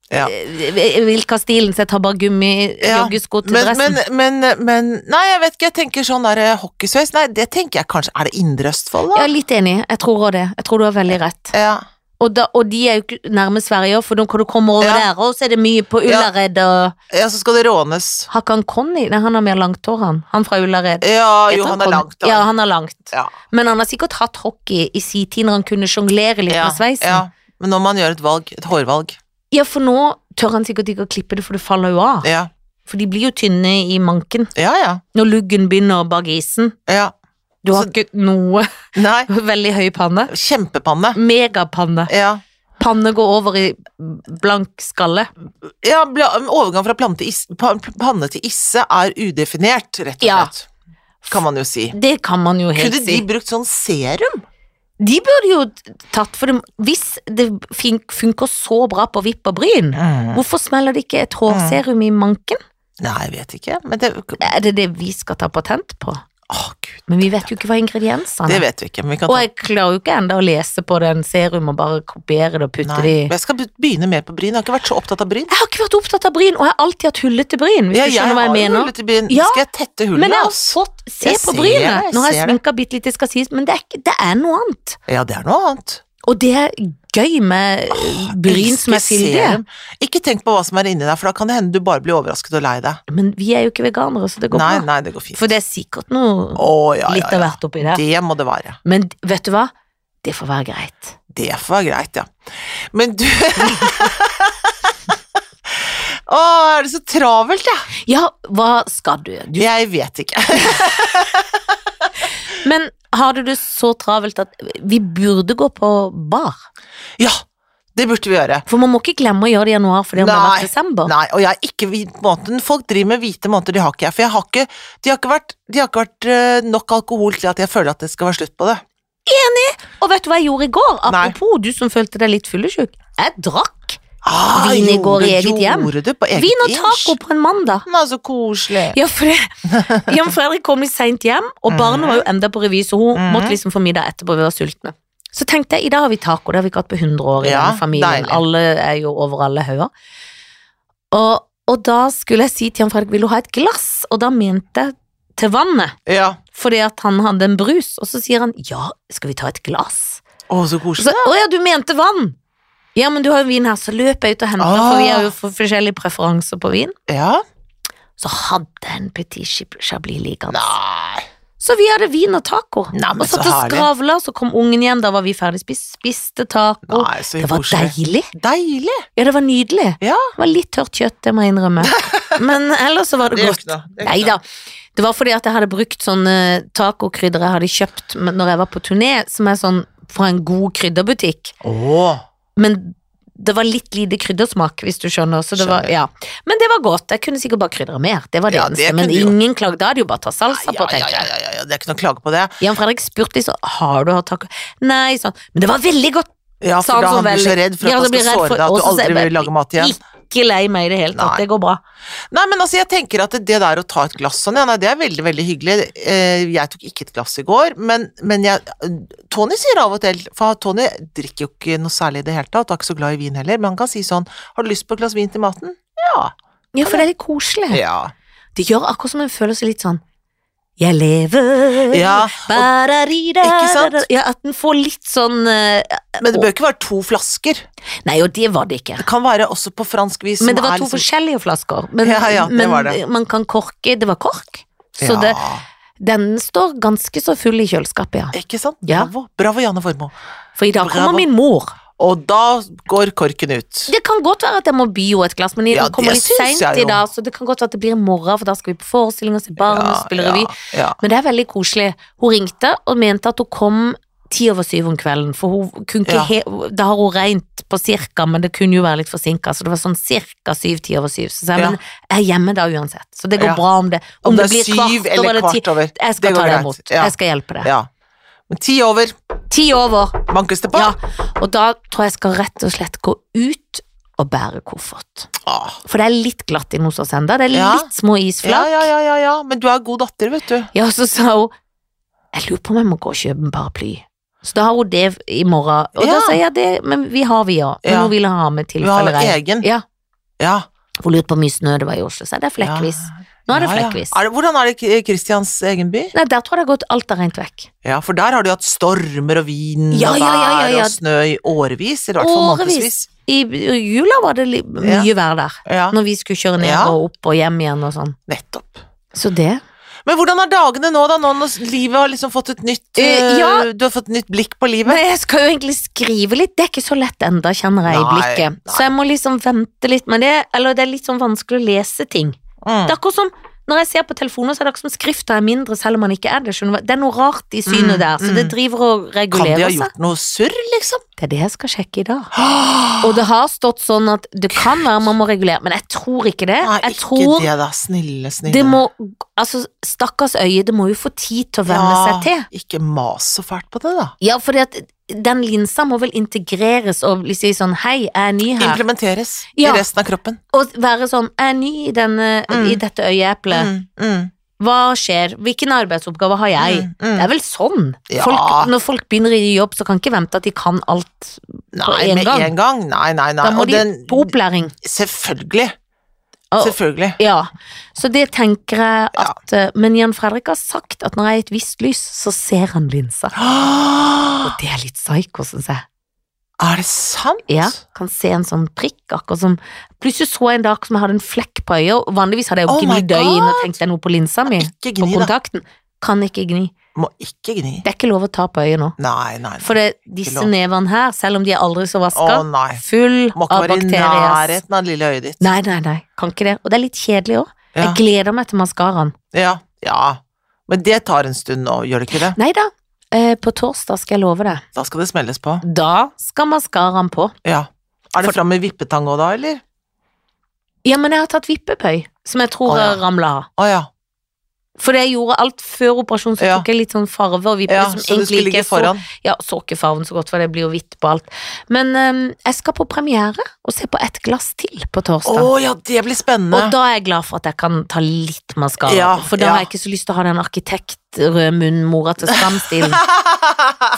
Speaker 1: Ja.
Speaker 2: eh, Jeg vil ikke ha stilen, så jeg tar bare gummi,
Speaker 1: Ja,
Speaker 2: joggesko til
Speaker 1: Men,
Speaker 2: dressen.
Speaker 1: men, men, men Nei, jeg vet ikke, jeg tenker sånn der eh, hockeysveis. Nei, det tenker jeg kanskje Er det Indre Østfold,
Speaker 2: Jeg
Speaker 1: da?
Speaker 2: er litt enig, jeg tror òg det. Jeg tror du har veldig rett.
Speaker 1: Ja.
Speaker 2: Og, da, og de er jo ikke nærme Sverige, for da kan du komme over
Speaker 1: Ja.
Speaker 2: der, og så er det mye på Ullared og
Speaker 1: ja, så skal det rånes.
Speaker 2: Hakan Conny Nei, han har mer langt hår, han. Han fra Ullared.
Speaker 1: Ja,
Speaker 2: Heter
Speaker 1: jo, han er
Speaker 2: Conny?
Speaker 1: langt, da.
Speaker 2: Ja, han er langt.
Speaker 1: Ja.
Speaker 2: Men han har sikkert hatt hockey i sin tid når han kunne sjonglere litt
Speaker 1: Ja,
Speaker 2: med sveisen.
Speaker 1: ja.
Speaker 2: Ja.
Speaker 1: Men når man gjør et valg, et hårvalg
Speaker 2: for nå tør han sikkert ikke å klippe det, for det faller jo av.
Speaker 1: Ja,
Speaker 2: For de blir jo tynne i manken
Speaker 1: ja. ja,
Speaker 2: når luggen begynner bak isen.
Speaker 1: ja.
Speaker 2: Du har
Speaker 1: Så-
Speaker 2: ikke noe
Speaker 1: Nei.
Speaker 2: veldig høy panne.
Speaker 1: Kjempepanne.
Speaker 2: Megapanne.
Speaker 1: Ja.
Speaker 2: Panne går over i blank skalle.
Speaker 1: Ja, bla- overgang fra plante, is- pa- panne til isse er udefinert, rett og
Speaker 2: Ja.
Speaker 1: slett. Kan man jo si.
Speaker 2: Det kan man jo helt
Speaker 1: Kunne de
Speaker 2: si.
Speaker 1: brukt sånn serum?
Speaker 2: De burde jo tatt for dem Hvis det fin- funker så bra på vipp og bryn, hvorfor smeller det ikke et hårserum i manken?
Speaker 1: Nei, jeg vet ikke. Men det Å,
Speaker 2: Er det det vi skal ta patent på?
Speaker 1: gud.
Speaker 2: Men vi vet jo ikke hva ingrediensene
Speaker 1: Det
Speaker 2: er.
Speaker 1: vet vi ikke, men vi kan
Speaker 2: Og
Speaker 1: ta
Speaker 2: jeg klarer jo ikke enda å lese på den serum og bare kopiere det og putte
Speaker 1: Nei.
Speaker 2: det i
Speaker 1: Men Jeg skal be- begynne mer på bryn. Jeg har ikke vært så opptatt av bryn.
Speaker 2: Jeg har ikke vært opptatt av bryn, og jeg har alltid hatt hullete bryn, hvis
Speaker 1: Ja,
Speaker 2: du skjønner hva
Speaker 1: har
Speaker 2: jeg
Speaker 1: jo
Speaker 2: mener.
Speaker 1: hullete bryn.
Speaker 2: Ja,
Speaker 1: Skal jeg tette
Speaker 2: Men
Speaker 1: hullene?
Speaker 2: jeg har
Speaker 1: Altså?
Speaker 2: fått Se
Speaker 1: Jeg
Speaker 2: på
Speaker 1: ser det,
Speaker 2: brynet!
Speaker 1: jeg
Speaker 2: Nå har jeg
Speaker 1: ser det.
Speaker 2: sminka bitte litt, det skal sies, men det er, ikke, det er noe annet.
Speaker 1: Ja, det er noe annet.
Speaker 2: Og det er gøy med eh, bryn som er
Speaker 1: Elsker
Speaker 2: fyldige.
Speaker 1: serum. Ikke tenk på hva som er inni deg, for da kan det hende du bare blir overrasket og lei deg.
Speaker 2: Men vi er jo ikke veganere, så det går
Speaker 1: Nei,
Speaker 2: bra.
Speaker 1: nei, det går fint.
Speaker 2: For det er sikkert noe
Speaker 1: Å, ja,
Speaker 2: litt
Speaker 1: ja, ja.
Speaker 2: av hvert oppi der.
Speaker 1: Det må det være.
Speaker 2: Men d- vet du hva? Det får være greit.
Speaker 1: Det får være greit, ja. Men du Å, er det så travelt, jeg?
Speaker 2: Ja, hva skal du? du
Speaker 1: Jeg vet ikke.
Speaker 2: men har du det så travelt at vi burde gå på bar?
Speaker 1: Ja, det burde vi gjøre.
Speaker 2: For man må ikke glemme å gjøre det i januar fordi om det har
Speaker 1: Nei,
Speaker 2: vært desember.
Speaker 1: Nei, og jeg er ikke hvit måneden. Folk driver med hvite måneder, de har ikke jeg. For jeg har ikke, de har ikke vært, de har ikke vært eh, nok alkohol til at jeg føler at det skal være slutt på det.
Speaker 2: Og vet du hva jeg gjorde i går?
Speaker 1: Nei.
Speaker 2: Apropos du som følte deg litt fyllesyk. Jeg drakk
Speaker 1: Ah,
Speaker 2: Vin i går i
Speaker 1: gjorde-
Speaker 2: eget hjem.
Speaker 1: Gjorde du på eget
Speaker 2: vin og
Speaker 1: inch?
Speaker 2: taco på en mandag.
Speaker 1: Men så koselig.
Speaker 2: Ja, for det, Jan Fredrik kom litt seint hjem, og barnet var jo enda på revy, så hun
Speaker 1: Mhm.
Speaker 2: måtte liksom få middag etterpå, vi var sultne. Så tenkte jeg, i dag har vi taco, det har vi ikke hatt på 100 år i
Speaker 1: Ja,
Speaker 2: denne familien.
Speaker 1: deilig.
Speaker 2: Alle er jo over alle hauger. Og, og da skulle jeg si til Jan Fredrik, vil du ha et glass? Og da mente jeg til vannet,
Speaker 1: Ja.
Speaker 2: fordi at han hadde en brus. Og så sier han, ja, skal vi ta et glass?
Speaker 1: Å, så
Speaker 2: Og så,
Speaker 1: koselig.
Speaker 2: å ja, du mente vann! Ja, men du har jo vin her, så løper jeg ut og henter,
Speaker 1: Ah.
Speaker 2: for vi har jo for- forskjellige preferanser på vin.
Speaker 1: Ja.
Speaker 2: Så hadde jeg en petit Chib- chablis altså. liggende.
Speaker 1: Nei.
Speaker 2: Så vi hadde vin og taco.
Speaker 1: Nei, men
Speaker 2: og satt
Speaker 1: så
Speaker 2: og
Speaker 1: herlig.
Speaker 2: skravla, så kom ungen igjen, da var vi ferdig spist, spiste taco.
Speaker 1: Nei, så
Speaker 2: det var
Speaker 1: koselig.
Speaker 2: deilig.
Speaker 1: Deilig.
Speaker 2: Ja, det var nydelig.
Speaker 1: Ja.
Speaker 2: Det var litt tørt kjøtt, det må jeg innrømme. Men ellers så var det,
Speaker 1: Det gjør
Speaker 2: godt.
Speaker 1: ikke noe, det gjør
Speaker 2: Nei
Speaker 1: ikke
Speaker 2: da. Det var fordi at jeg hadde brukt sånne tacokrydder jeg hadde kjøpt men- når jeg var på turné, som er sånn fra en god krydderbutikk.
Speaker 1: Å.
Speaker 2: Men det var litt lite kryddersmak, hvis du skjønner. Så det var,
Speaker 1: Skjønner.
Speaker 2: ja. Men det var godt. Jeg kunne sikkert bare krydre mer. Det var det
Speaker 1: Ja, det
Speaker 2: eneste. men
Speaker 1: kunne du gjort.
Speaker 2: ingen klag. Da hadde jeg jo bare tatt salsa på,
Speaker 1: Ja, ja,
Speaker 2: tenker
Speaker 1: ja,
Speaker 2: jeg.
Speaker 1: ja, ja, ja, det er ikke noe å klage på det.
Speaker 2: Jan Fredrik spurte liksom Har du hatt taco? Nei, sånn. Men det var veldig godt.
Speaker 1: Ja,
Speaker 2: Sa
Speaker 1: for
Speaker 2: han
Speaker 1: da
Speaker 2: så
Speaker 1: han blir
Speaker 2: veldig.
Speaker 1: så redd for
Speaker 2: Ja,
Speaker 1: at
Speaker 2: da
Speaker 1: han skal
Speaker 2: blir jeg redd
Speaker 1: såre
Speaker 2: for-
Speaker 1: deg at
Speaker 2: og
Speaker 1: du
Speaker 2: så sa jeg
Speaker 1: aldri
Speaker 2: bare,
Speaker 1: vil lage mat igjen.
Speaker 2: Ikke lei meg i det hele
Speaker 1: Nei.
Speaker 2: tatt. Det går bra.
Speaker 1: Nei, men altså, jeg tenker at det der å ta et glass sånn, ja, nei, det er veldig, veldig hyggelig. Eh, Jeg tok ikke et glass i går, men, men jeg Tony sier av og til, for Tony drikker jo ikke noe særlig i det hele tatt, og er ikke så glad i vin heller, men han kan si sånn Har du lyst på et glass vin til maten? Ja.
Speaker 2: Ja, for det er litt koselig.
Speaker 1: Ja.
Speaker 2: Det gjør akkurat som en føler seg litt sånn Jeg lever
Speaker 1: Ja, og-
Speaker 2: Bararida,
Speaker 1: Ikke sant?
Speaker 2: da, da. Ja, At den får litt sånn eh,
Speaker 1: Men det bør ikke være to flasker.
Speaker 2: Nei, og det var det ikke.
Speaker 1: Det kan være også på fransk vis
Speaker 2: Men det var
Speaker 1: er
Speaker 2: to
Speaker 1: liksom-
Speaker 2: forskjellige flasker. Men,
Speaker 1: Ja, ja, det
Speaker 2: men
Speaker 1: var det.
Speaker 2: man kan korke Det var kork. Så
Speaker 1: ja.
Speaker 2: det, den står ganske så full i kjøleskapet, ja.
Speaker 1: Ikke sant?
Speaker 2: Ja.
Speaker 1: Bravo. Bravo, Janne Formoe.
Speaker 2: For i dag kommer
Speaker 1: Bravo.
Speaker 2: min mor.
Speaker 1: Og da går korken ut.
Speaker 2: Det kan godt være at jeg må by henne et glass, men jeg
Speaker 1: Ja, det
Speaker 2: kommer litt
Speaker 1: syns
Speaker 2: seint
Speaker 1: jeg jo.
Speaker 2: i dag, så det kan godt være at det blir i morgen, for da skal vi på forestilling og se barn og spille revy.
Speaker 1: Ja, ja.
Speaker 2: Men det er veldig koselig. Hun ringte og mente at hun kom ti over syv om kvelden, for hun kunne ikke
Speaker 1: Ja.
Speaker 2: he Da har hun regnet på cirka, men det kunne jo være litt forsinka, så det var sånn cirka syv-ti over syv. Så sa jeg,
Speaker 1: Ja.
Speaker 2: men jeg er hjemme da uansett, så det går
Speaker 1: Ja.
Speaker 2: bra om det Om, det, blir
Speaker 1: syv
Speaker 2: kvart over
Speaker 1: eller
Speaker 2: eller ti.
Speaker 1: kvart over.
Speaker 2: Jeg
Speaker 1: det
Speaker 2: skal
Speaker 1: går
Speaker 2: ta det
Speaker 1: greit.
Speaker 2: imot.
Speaker 1: Ja.
Speaker 2: Jeg skal hjelpe deg.
Speaker 1: ja. Men ti over
Speaker 2: Ti over.
Speaker 1: bankes det på.
Speaker 2: Ja. Og da tror jeg jeg skal rett og slett gå ut og bære koffert.
Speaker 1: Åh.
Speaker 2: For det er litt glatt inne hos oss ennå. Det er
Speaker 1: Ja.
Speaker 2: litt små
Speaker 1: Ah. Ja,
Speaker 2: isflak.
Speaker 1: ja, ja, ja, ja. Men du er god datter, vet du.
Speaker 2: Ja, så sa hun Jeg lurer på om jeg må gå og kjøpe en paraply. Så da har hun det i morgen. Og da
Speaker 1: Ja.
Speaker 2: sier jeg det, men vi har vi òg. Men
Speaker 1: Ja.
Speaker 2: hun ville ha med
Speaker 1: Du har
Speaker 2: tilfelle regn.
Speaker 1: egen.
Speaker 2: Ja.
Speaker 1: Ja.
Speaker 2: Hun lurte på hvor mye snø det var i Oslo, så er det flekkvis. Nå er det
Speaker 1: Ja, ja.
Speaker 2: flekkvis.
Speaker 1: Er det, hvordan er det i Kristians egen by?
Speaker 2: Nei, der tror jeg det har gått alt har regnet vekk.
Speaker 1: Ja, for der har du hatt stormer og vind
Speaker 2: Ja,
Speaker 1: og
Speaker 2: ja, ja, ja,
Speaker 1: vær
Speaker 2: ja.
Speaker 1: og snø i årevis, eller i hvert fall månedsvis.
Speaker 2: I jula var det li
Speaker 1: Ja.
Speaker 2: mye vær der.
Speaker 1: Ja,
Speaker 2: Når vi skulle kjøre ned
Speaker 1: Ja.
Speaker 2: og opp og hjem igjen og sånn.
Speaker 1: nettopp.
Speaker 2: Så det
Speaker 1: Men hvordan er dagene nå, da? Nå når livet har liksom fått et nytt
Speaker 2: Eh, ja.
Speaker 1: øh, Du har fått et nytt blikk på livet?
Speaker 2: Nei, jeg skal jo egentlig skrive litt. Det er ikke så lett enda, kjenner jeg i
Speaker 1: Nei,
Speaker 2: blikket.
Speaker 1: nei.
Speaker 2: Så jeg må liksom vente litt med det. Eller det er litt sånn vanskelig å lese ting. Det
Speaker 1: Mm.
Speaker 2: er akkurat som når jeg ser på telefonen, så er det akkurat som skrifta er mindre, selv om man ikke er det. skjønner du hva? Det er noe rart i synet
Speaker 1: Mm,
Speaker 2: der, så
Speaker 1: mm.
Speaker 2: det driver
Speaker 1: Kan
Speaker 2: og
Speaker 1: de
Speaker 2: regulerer
Speaker 1: ha
Speaker 2: seg.
Speaker 1: gjort noe surr, liksom?
Speaker 2: Det er det jeg skal sjekke i dag. Og det har stått sånn at det kan være man må regulere, men jeg tror ikke det.
Speaker 1: Nei,
Speaker 2: Jeg
Speaker 1: ikke
Speaker 2: tror
Speaker 1: det, da. Snille, snille.
Speaker 2: det må Altså, stakkars øye, det må jo få tid til å venne seg til.
Speaker 1: Ikke mas så fælt på det, da.
Speaker 2: Ja, fordi at den linsa må vel integreres og liksom si sånn Hei, jeg er ny her.
Speaker 1: Implementeres
Speaker 2: Ja.
Speaker 1: i resten av kroppen.
Speaker 2: Og være sånn Jeg er ny i, denne,
Speaker 1: Mm.
Speaker 2: i dette øyeeplet.
Speaker 1: Mm, mm,
Speaker 2: Hva skjer? Hvilken arbeidsoppgave har jeg?
Speaker 1: mm, mm.
Speaker 2: Det er vel sånn.
Speaker 1: Ja.
Speaker 2: Folk, når folk begynner i jobb, så kan ikke vente at de kan alt.
Speaker 1: Nei,
Speaker 2: en
Speaker 1: med
Speaker 2: gang.
Speaker 1: en gang. Nei, nei, nei.
Speaker 2: Da må
Speaker 1: Og
Speaker 2: de
Speaker 1: den,
Speaker 2: på opplæring.
Speaker 1: selvfølgelig.
Speaker 2: Og-
Speaker 1: Selvfølgelig.
Speaker 2: Ja, så det tenker jeg
Speaker 1: Ja.
Speaker 2: at eh, Men Jan Fredrik har sagt at når jeg er i et visst lys, så ser han linsa.
Speaker 1: Åh,
Speaker 2: Og det er litt psycho, syns jeg.
Speaker 1: Er det sant?
Speaker 2: Ja, kan se en sånn prikk, akkurat som Plutselig så jeg en dag som jeg hadde en flekk på øyet, og vanligvis hadde jeg jo
Speaker 1: Oh my
Speaker 2: gnidd øyet inn og
Speaker 1: God!
Speaker 2: tenkt det er noe på linsa mi.
Speaker 1: Ikke
Speaker 2: På
Speaker 1: gni, da.
Speaker 2: kontakten. Kan ikke gni.
Speaker 1: Må ikke gni.
Speaker 2: Det er ikke lov å ta på øyet nå.
Speaker 1: Nei, nei. nei.
Speaker 2: For det, disse
Speaker 1: lov.
Speaker 2: nevene her, selv om de er aldri så
Speaker 1: Å
Speaker 2: vaska,
Speaker 1: nei.
Speaker 2: full
Speaker 1: Må ikke
Speaker 2: av
Speaker 1: være i
Speaker 2: bakterier.
Speaker 1: nærheten av det lille øyet ditt.
Speaker 2: Nei, nei, nei. Kan ikke det. Og det er litt kjedelig òg.
Speaker 1: Ja.
Speaker 2: Jeg gleder meg til maskaraen.
Speaker 1: Ja, ja. Men det tar en stund nå, gjør det ikke det?
Speaker 2: Nei da, eh, på torsdag skal jeg love det.
Speaker 1: Da skal det smelles på.
Speaker 2: Da skal maskaraen på.
Speaker 1: Ja. Er det
Speaker 2: For-
Speaker 1: fram med vippetang òg da, eller?
Speaker 2: Ja, men jeg har tatt vippepøy, som jeg tror
Speaker 1: Å, ja.
Speaker 2: ramla av.
Speaker 1: Å ja.
Speaker 2: For det jeg gjorde alt før operasjon, så
Speaker 1: Ja.
Speaker 2: tok jeg litt sånn farve og vippe.
Speaker 1: ja. Så
Speaker 2: som
Speaker 1: du
Speaker 2: egentlig
Speaker 1: skulle
Speaker 2: ikke
Speaker 1: ligge
Speaker 2: er så-
Speaker 1: foran.
Speaker 2: Ja, så ikke farven så godt, for det blir jo hvitt på alt. Men eh, jeg skal på premiere og se på Et glass til på
Speaker 1: Å
Speaker 2: torsdag.
Speaker 1: ja, det blir
Speaker 2: og
Speaker 1: spennende.
Speaker 2: da er jeg glad for at jeg kan ta litt maskara,
Speaker 1: Ja,
Speaker 2: for da
Speaker 1: ja.
Speaker 2: har jeg ikke så lyst til å ha den arkitekt-rødmunn-mora til skamstilen.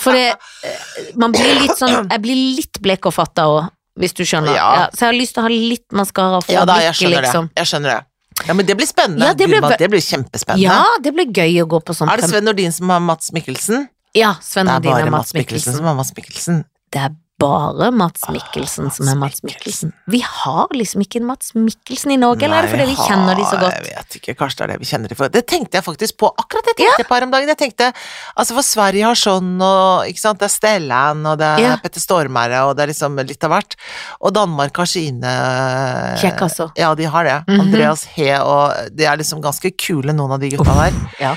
Speaker 2: For det, eh, man blir litt sånn Jeg blir litt blek og fatta òg, hvis du skjønner. Ja.
Speaker 1: Ja.
Speaker 2: så jeg har lyst til å ha litt maskara for
Speaker 1: ja da, jeg
Speaker 2: blikket,
Speaker 1: skjønner
Speaker 2: liksom.
Speaker 1: det. Jeg skjønner det. Ja, men det blir spennende.
Speaker 2: Ja, det blir
Speaker 1: Gud,
Speaker 2: ve-
Speaker 1: det blir kjempespennende.
Speaker 2: Ja, det blir gøy å gå på sånn
Speaker 1: Er det
Speaker 2: prem-
Speaker 1: Sven Nordin som har Mats Mikkelsen?
Speaker 2: Ja, Sven
Speaker 1: Det er
Speaker 2: Nordin
Speaker 1: bare
Speaker 2: og
Speaker 1: Mats Mikkelsen som har Mats Mikkelsen.
Speaker 2: Det er bare Mats
Speaker 1: Åh,
Speaker 2: Mikkelsen
Speaker 1: Mats
Speaker 2: som er Mats
Speaker 1: Mikkelsen.
Speaker 2: Mikkelsen. Vi har liksom ikke en Mats Mikkelsen i Norge, eller er
Speaker 1: Nei,
Speaker 2: det fordi vi kjenner de så
Speaker 1: har-
Speaker 2: godt?
Speaker 1: Jeg vet ikke, kanskje det er det vi kjenner de for. Det tenkte jeg faktisk på, akkurat det tenkte jeg på her om dagen. Jeg tenkte, altså for Sverige har sånn, og ikke sant, det er Stellan, og det er
Speaker 2: Ja.
Speaker 1: Petter Stormare, og det er liksom litt av hvert. Og Danmark har sine... eh,
Speaker 2: Kjekkasser.
Speaker 1: Ja, de har det.
Speaker 2: Mhm.
Speaker 1: Andreas He, og de er liksom ganske kule, noen av de gutta der.
Speaker 2: Ja.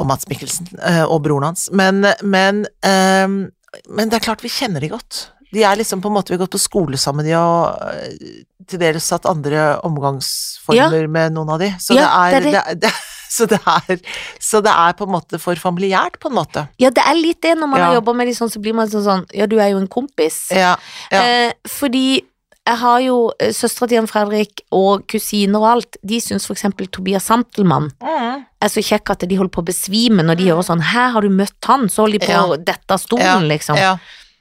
Speaker 1: Og Mats Mikkelsen, eh, og broren hans. Men, men, ehm, men det er klart vi kjenner de godt. De er liksom på en måte, vi har gått på skole sammen, de har eh, til dels hatt andre omgangsformer med noen av de. Så,
Speaker 2: Ja,
Speaker 1: det er,
Speaker 2: det
Speaker 1: det
Speaker 2: er
Speaker 1: er, det, så, det er, så det er på en måte for familiært, på en måte.
Speaker 2: Ja, det er litt det. Når man har
Speaker 1: Ja.
Speaker 2: jobba med de sånn, så blir man sånn sånn Ja, du er jo en kompis.
Speaker 1: Ja, ja.
Speaker 2: Eh, fordi jeg har jo eh, søstera til Jan Fredrik og kusiner og alt. De syns for eksempel Tobias Santelmann
Speaker 1: Mm.
Speaker 2: er så kjekk at de holder på å besvime når de gjør sånn Her har du møtt han, så holder de på
Speaker 1: Ja.
Speaker 2: å dette av
Speaker 1: Ja.
Speaker 2: stolen, liksom.
Speaker 1: ja.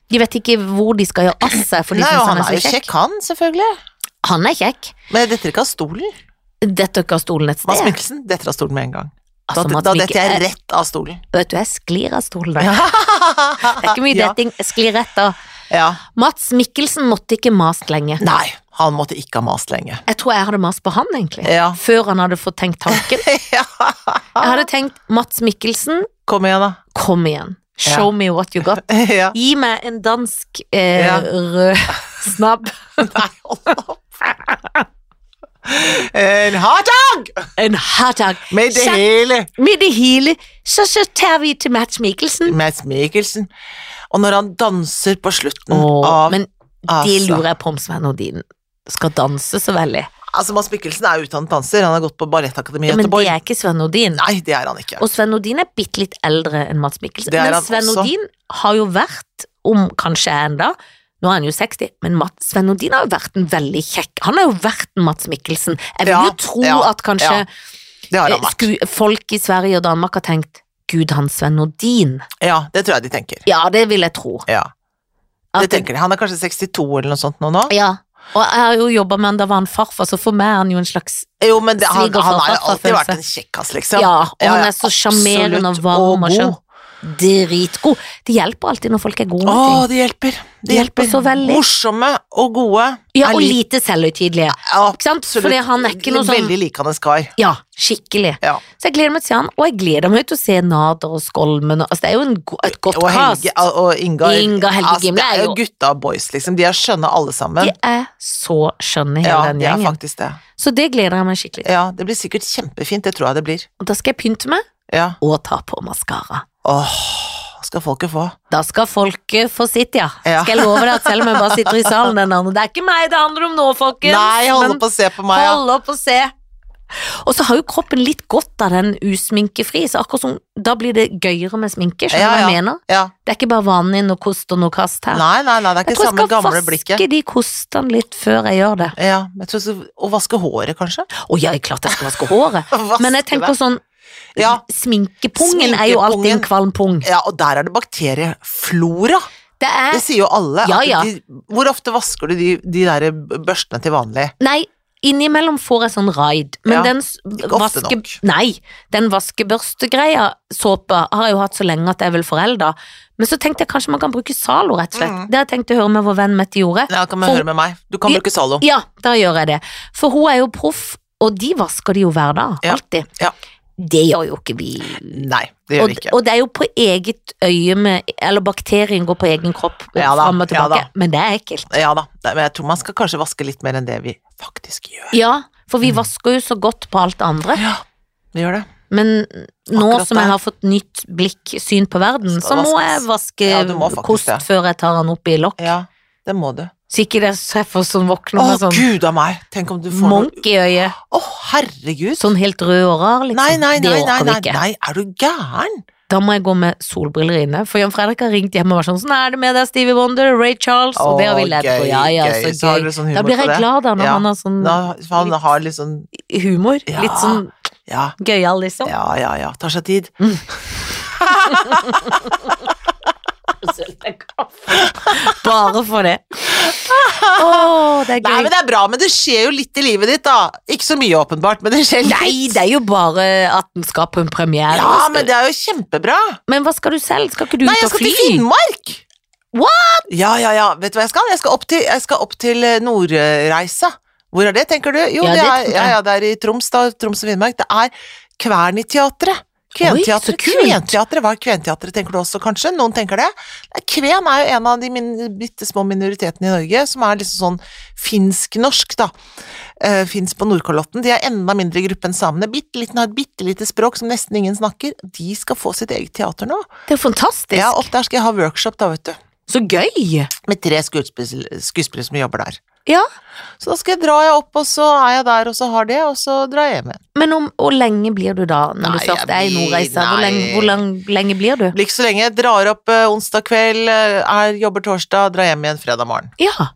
Speaker 2: De vet ikke hvor de skal gjøre av seg, for de
Speaker 1: Nei,
Speaker 2: syns
Speaker 1: og
Speaker 2: han
Speaker 1: han
Speaker 2: er
Speaker 1: er jo
Speaker 2: så kjekk.
Speaker 1: kjekk, han, selvfølgelig.
Speaker 2: Han er kjekk.
Speaker 1: Men jeg detter ikke av stolen.
Speaker 2: Detter ikke av stolen et sted.
Speaker 1: Mads Mikkelsen detter av stolen med en gang. Da,
Speaker 2: Altså, Mats
Speaker 1: da
Speaker 2: Mikkel- Eh,
Speaker 1: detter jeg rett av stolen.
Speaker 2: Vet du, jeg sklir av stolen. der. Det er ikke mye
Speaker 1: Ja.
Speaker 2: detting, jeg sklir rett av.
Speaker 1: Ja.
Speaker 2: Mats Mikkelsen måtte ikke mast lenge.
Speaker 1: Nei, han måtte ikke ha mast lenge.
Speaker 2: Jeg tror jeg hadde mast på han, egentlig.
Speaker 1: Ja.
Speaker 2: Før han hadde fått tenkt tanken.
Speaker 1: ja.
Speaker 2: Jeg hadde tenkt, Mats Mikkelsen,
Speaker 1: Kom igjen, da.
Speaker 2: kom igjen. Show me what you got.
Speaker 1: ja.
Speaker 2: Gi meg en dansk eh,
Speaker 1: Ja.
Speaker 2: rød snabb.
Speaker 1: Nei, hold opp. En hardtag
Speaker 2: En hardtag.
Speaker 1: med det
Speaker 2: Kjekk.
Speaker 1: hele.
Speaker 2: Med det hele, så, så tar vi til Mats Mikkelsen.
Speaker 1: Mads Mikkelsen. Og når han danser på slutten
Speaker 2: Åh,
Speaker 1: Mm, av
Speaker 2: men det
Speaker 1: altså,
Speaker 2: lurer jeg på om Sven Nordin skal danse så veldig.
Speaker 1: altså, Mads Mikkelsen er utdannet danser. Han har gått på Ballettakademiet i
Speaker 2: Ja, men det
Speaker 1: Göteborg.
Speaker 2: er ikke Sven Nordin.
Speaker 1: Nei, det er han ikke.
Speaker 2: Og Sven Nordin er bitte litt eldre enn Mats Mikkelsen.
Speaker 1: Det er
Speaker 2: Men
Speaker 1: han
Speaker 2: Sven
Speaker 1: også.
Speaker 2: Nordin har jo vært, om kanskje er enda Nå er han jo 60, men Mats, Sven Nordin har jo vært en veldig kjekk Han har jo vært en Mats Mikkelsen. Jeg vil
Speaker 1: Ja,
Speaker 2: jo tro
Speaker 1: ja,
Speaker 2: at kanskje
Speaker 1: ja, Det har
Speaker 2: eh,
Speaker 1: han vært.
Speaker 2: sku, folk i Sverige og Danmark har tenkt Gud, han Sven Nordin.
Speaker 1: Ja, det tror jeg de tenker.
Speaker 2: Ja, det vil jeg tro.
Speaker 1: Ja,
Speaker 2: At
Speaker 1: det tenker de. Han er kanskje 62 eller noe sånt nå nå.
Speaker 2: Ja. Og jeg har jo jobba med han da var han farfar, så for meg er han jo en slags
Speaker 1: Jo, men det, han,
Speaker 2: Svigerfar,
Speaker 1: han har jo alltid
Speaker 2: farfar,
Speaker 1: vært en kjekkas, liksom.
Speaker 2: Ja, og
Speaker 1: Ja,
Speaker 2: han
Speaker 1: ja,
Speaker 2: er så sjarmerende og
Speaker 1: absolutt,
Speaker 2: varm og
Speaker 1: og
Speaker 2: skjønn.
Speaker 1: god.
Speaker 2: Dritgod. Det hjelper alltid når folk er gode
Speaker 1: Å,
Speaker 2: med ting.
Speaker 1: det hjelper. Det
Speaker 2: Det hjelper
Speaker 1: hjelper.
Speaker 2: så veldig.
Speaker 1: Morsomme og gode.
Speaker 2: Ja,
Speaker 1: Er
Speaker 2: og
Speaker 1: lik-
Speaker 2: lite selvhøytidelige.
Speaker 1: Ja,
Speaker 2: Ikke sant?
Speaker 1: absolutt.
Speaker 2: Fordi han er ikke noe sånn-
Speaker 1: Veldig likende kar.
Speaker 2: Ja, skikkelig.
Speaker 1: Ja.
Speaker 2: Så jeg gleder meg til han, og jeg gleder meg til å se Nader og Skolmen. og- Altså, det er jo en, go- et godt
Speaker 1: Og
Speaker 2: cast.
Speaker 1: Helge, og Inga, Altså,
Speaker 2: Inga Helge Gimle
Speaker 1: det
Speaker 2: er
Speaker 1: er jo
Speaker 2: jo-
Speaker 1: gutta og boys, liksom. De er skjønne alle sammen.
Speaker 2: De er så skjønne, hele
Speaker 1: ja,
Speaker 2: den
Speaker 1: de er
Speaker 2: gjengen.
Speaker 1: faktisk det.
Speaker 2: Så det gleder jeg meg skikkelig til.
Speaker 1: Ja, det blir sikkert kjempefint, det tror jeg det blir.
Speaker 2: Og da skal jeg pynte meg
Speaker 1: Ja.
Speaker 2: og ta på maskara.
Speaker 1: Åh, skal folket få.
Speaker 2: Da skal folket få sitt, ja.
Speaker 1: Ja.
Speaker 2: Skal jeg love deg at selv om jeg bare sitter i salen den andre Det er ikke meg det handler om nå, folkens.
Speaker 1: Nei, holde
Speaker 2: men
Speaker 1: på å se på meg, ja.
Speaker 2: hold opp og se. Og så har jo kroppen litt godt av den usminkefri, så akkurat som da blir det gøyere med sminke. Skjønner du
Speaker 1: Ja,
Speaker 2: hva
Speaker 1: ja.
Speaker 2: jeg mener?
Speaker 1: ja.
Speaker 2: Det er ikke bare vanen inn og kost og noe kast her.
Speaker 1: Nei, nei, nei, det er ikke
Speaker 2: jeg tror jeg
Speaker 1: samme
Speaker 2: skal
Speaker 1: gamle
Speaker 2: vaske
Speaker 1: blikket.
Speaker 2: de kostene litt før jeg gjør det.
Speaker 1: Ja, jeg tror jeg skal, Og vaske håret, kanskje.
Speaker 2: Å ja, jeg klart jeg skal vaske håret.
Speaker 1: Vaske
Speaker 2: Men jeg tenker
Speaker 1: det.
Speaker 2: sånn,
Speaker 1: Ja.
Speaker 2: sminkepungen er jo alltid en
Speaker 1: Sminkepungen.
Speaker 2: kvalm pung.
Speaker 1: Ja, og der er det bakterieflora.
Speaker 2: Det
Speaker 1: Det
Speaker 2: er
Speaker 1: sier jo alle.
Speaker 2: Eh. Ja,
Speaker 1: at
Speaker 2: ja.
Speaker 1: De, hvor ofte vasker du de, de der eh, børstene til vanlig?
Speaker 2: Nei, innimellom får jeg sånn raid, men
Speaker 1: Ja,
Speaker 2: den s-
Speaker 1: ofte
Speaker 2: vaske,
Speaker 1: nok.
Speaker 2: Nei, den vaskebørstegreia, såpe, har jeg jo hatt så lenge at jeg er vel forelda. Men så tenkte jeg kanskje man kan bruke Zalo, rett og slett.
Speaker 1: Mm.
Speaker 2: Det har jeg tenkt å høre med vår venn Mette Jorde.
Speaker 1: Ja, kan man
Speaker 2: For-
Speaker 1: høre med meg. Du kan
Speaker 2: Ja.
Speaker 1: bruke Zalo.
Speaker 2: Ja, da gjør jeg det. For hun er jo proff, og de vasker de jo hver dag.
Speaker 1: Ja,
Speaker 2: Alltid.
Speaker 1: ja.
Speaker 2: Det gjør jo ikke vi.
Speaker 1: Nei, det gjør
Speaker 2: Og,
Speaker 1: vi ikke.
Speaker 2: og det er jo på eget øye med Eller bakterien går på egen kropp og
Speaker 1: Ja da,
Speaker 2: fram og
Speaker 1: ja
Speaker 2: tilbake.
Speaker 1: da.
Speaker 2: men det er ekkelt.
Speaker 1: Ja da, det- men jeg tror man skal kanskje vaske litt mer enn det vi faktisk gjør.
Speaker 2: Ja, for
Speaker 1: Mm.
Speaker 2: vi vasker jo så godt på alt det andre.
Speaker 1: Ja, vi gjør det.
Speaker 2: Men nå
Speaker 1: Akkurat
Speaker 2: som jeg
Speaker 1: der.
Speaker 2: har fått nytt blikk, syn på verden,
Speaker 1: Skal
Speaker 2: så må jeg
Speaker 1: vaskes.
Speaker 2: vaske
Speaker 1: Ja, du må faktisk
Speaker 2: kost
Speaker 1: det.
Speaker 2: før jeg tar den opp i lokk.
Speaker 1: Ja, det må du.
Speaker 2: Så ikke det er treffer som våkner
Speaker 1: Å,
Speaker 2: med sånn
Speaker 1: gud a meg! Tenk om du får noe
Speaker 2: monk i øyet.
Speaker 1: Å, herregud!
Speaker 2: Sånn helt rød og rar, liksom.
Speaker 1: nei, nei,
Speaker 2: det
Speaker 1: nei, nei,
Speaker 2: orker vi
Speaker 1: nei,
Speaker 2: ikke.
Speaker 1: nei, er du gæren?
Speaker 2: Da må jeg gå med solbriller inne. For Jan Fredrik har ringt hjem og vært sånn Sånn er det med deg, Stevie Wonder, Ray Charles, og det har vi
Speaker 1: Å,
Speaker 2: ledd på.
Speaker 1: gøy,
Speaker 2: Ja, ja,
Speaker 1: gøy. Så
Speaker 2: så
Speaker 1: har
Speaker 2: gøy.
Speaker 1: dere sånn humor
Speaker 2: Da blir
Speaker 1: på
Speaker 2: jeg
Speaker 1: det.
Speaker 2: glad da, når
Speaker 1: Ja.
Speaker 2: han har sånn
Speaker 1: Da, for han
Speaker 2: litt-
Speaker 1: har litt sånn
Speaker 2: humor.
Speaker 1: Ja.
Speaker 2: Litt sånn
Speaker 1: Ja,
Speaker 2: gøyal, liksom.
Speaker 1: ja, ja, ja. Tar seg tid.
Speaker 2: Bare for det. Å, det er
Speaker 1: Nei,
Speaker 2: gøy.
Speaker 1: men det er bra, men det skjer jo litt i livet ditt, da. Ikke så mye, åpenbart, men det skjer litt.
Speaker 2: Nei, det er jo bare at den skal på en premiere.
Speaker 1: Ja, men det er jo kjempebra.
Speaker 2: Men hva skal du selv? Skal ikke du
Speaker 1: Nei,
Speaker 2: ut
Speaker 1: jeg
Speaker 2: og
Speaker 1: skal
Speaker 2: fly?
Speaker 1: til Finnmark! What?! Ja, ja, ja. Vet du hva jeg skal? Jeg skal opp til, jeg skal opp til eh, Nordreisa. Hvor er det, tenker du? Jo,
Speaker 2: Ja,
Speaker 1: det,
Speaker 2: det
Speaker 1: er,
Speaker 2: tenker
Speaker 1: ja,
Speaker 2: jeg.
Speaker 1: ja, det er i Troms, da. Troms og Finnmark. Det er Kverni-teatret.
Speaker 2: Oi, så
Speaker 1: Kventeatret.
Speaker 2: kult.
Speaker 1: Kventeatret var Kventeatret, tenker du også, kanskje? Noen tenker det. Nei, Kven er jo en av de min, bitte små minoritetene i Norge som er liksom sånn finsk-norsk, da. Eh, Fins på Nordkalotten. De er enda mindre i gruppe enn samene. Bitte liten har et bitte lite språk som nesten ingen snakker. De skal få sitt eget teater nå.
Speaker 2: Det er jo fantastisk.
Speaker 1: Ja, opp der skal jeg ha workshop, da, vet du.
Speaker 2: Så gøy.
Speaker 1: Med tre skuespill- skuespillere som jobber der.
Speaker 2: Ja,
Speaker 1: Så da skal jeg dra jeg opp, og så er jeg der, og så har det, og så drar jeg hjem igjen.
Speaker 2: Men om, hvor lenge blir du da, når
Speaker 1: Nei,
Speaker 2: du
Speaker 1: jeg
Speaker 2: først er i Nordreisa? Hvor,
Speaker 1: blir-
Speaker 2: lenge, hvor lang, lenge blir du?
Speaker 1: Blir ikke så lenge. Jeg drar opp eh, onsdag kveld, eh, er, jobber torsdag, drar hjem igjen fredag morgen.
Speaker 2: Ja,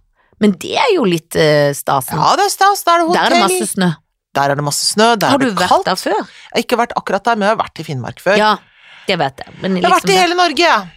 Speaker 2: men det er jo litt eh, stasen.
Speaker 1: Ja, det er stas. Der er det
Speaker 2: Der
Speaker 1: hotell.
Speaker 2: er det masse snø.
Speaker 1: Der er det masse snø, der
Speaker 2: Har
Speaker 1: er
Speaker 2: du
Speaker 1: det
Speaker 2: vært
Speaker 1: kaldt.
Speaker 2: der før?
Speaker 1: Jeg har ikke vært akkurat der, men jeg har vært i Finnmark før.
Speaker 2: Ja, det vet jeg. Men
Speaker 1: Jeg har vært
Speaker 2: liksom,
Speaker 1: i hele Norge, jeg.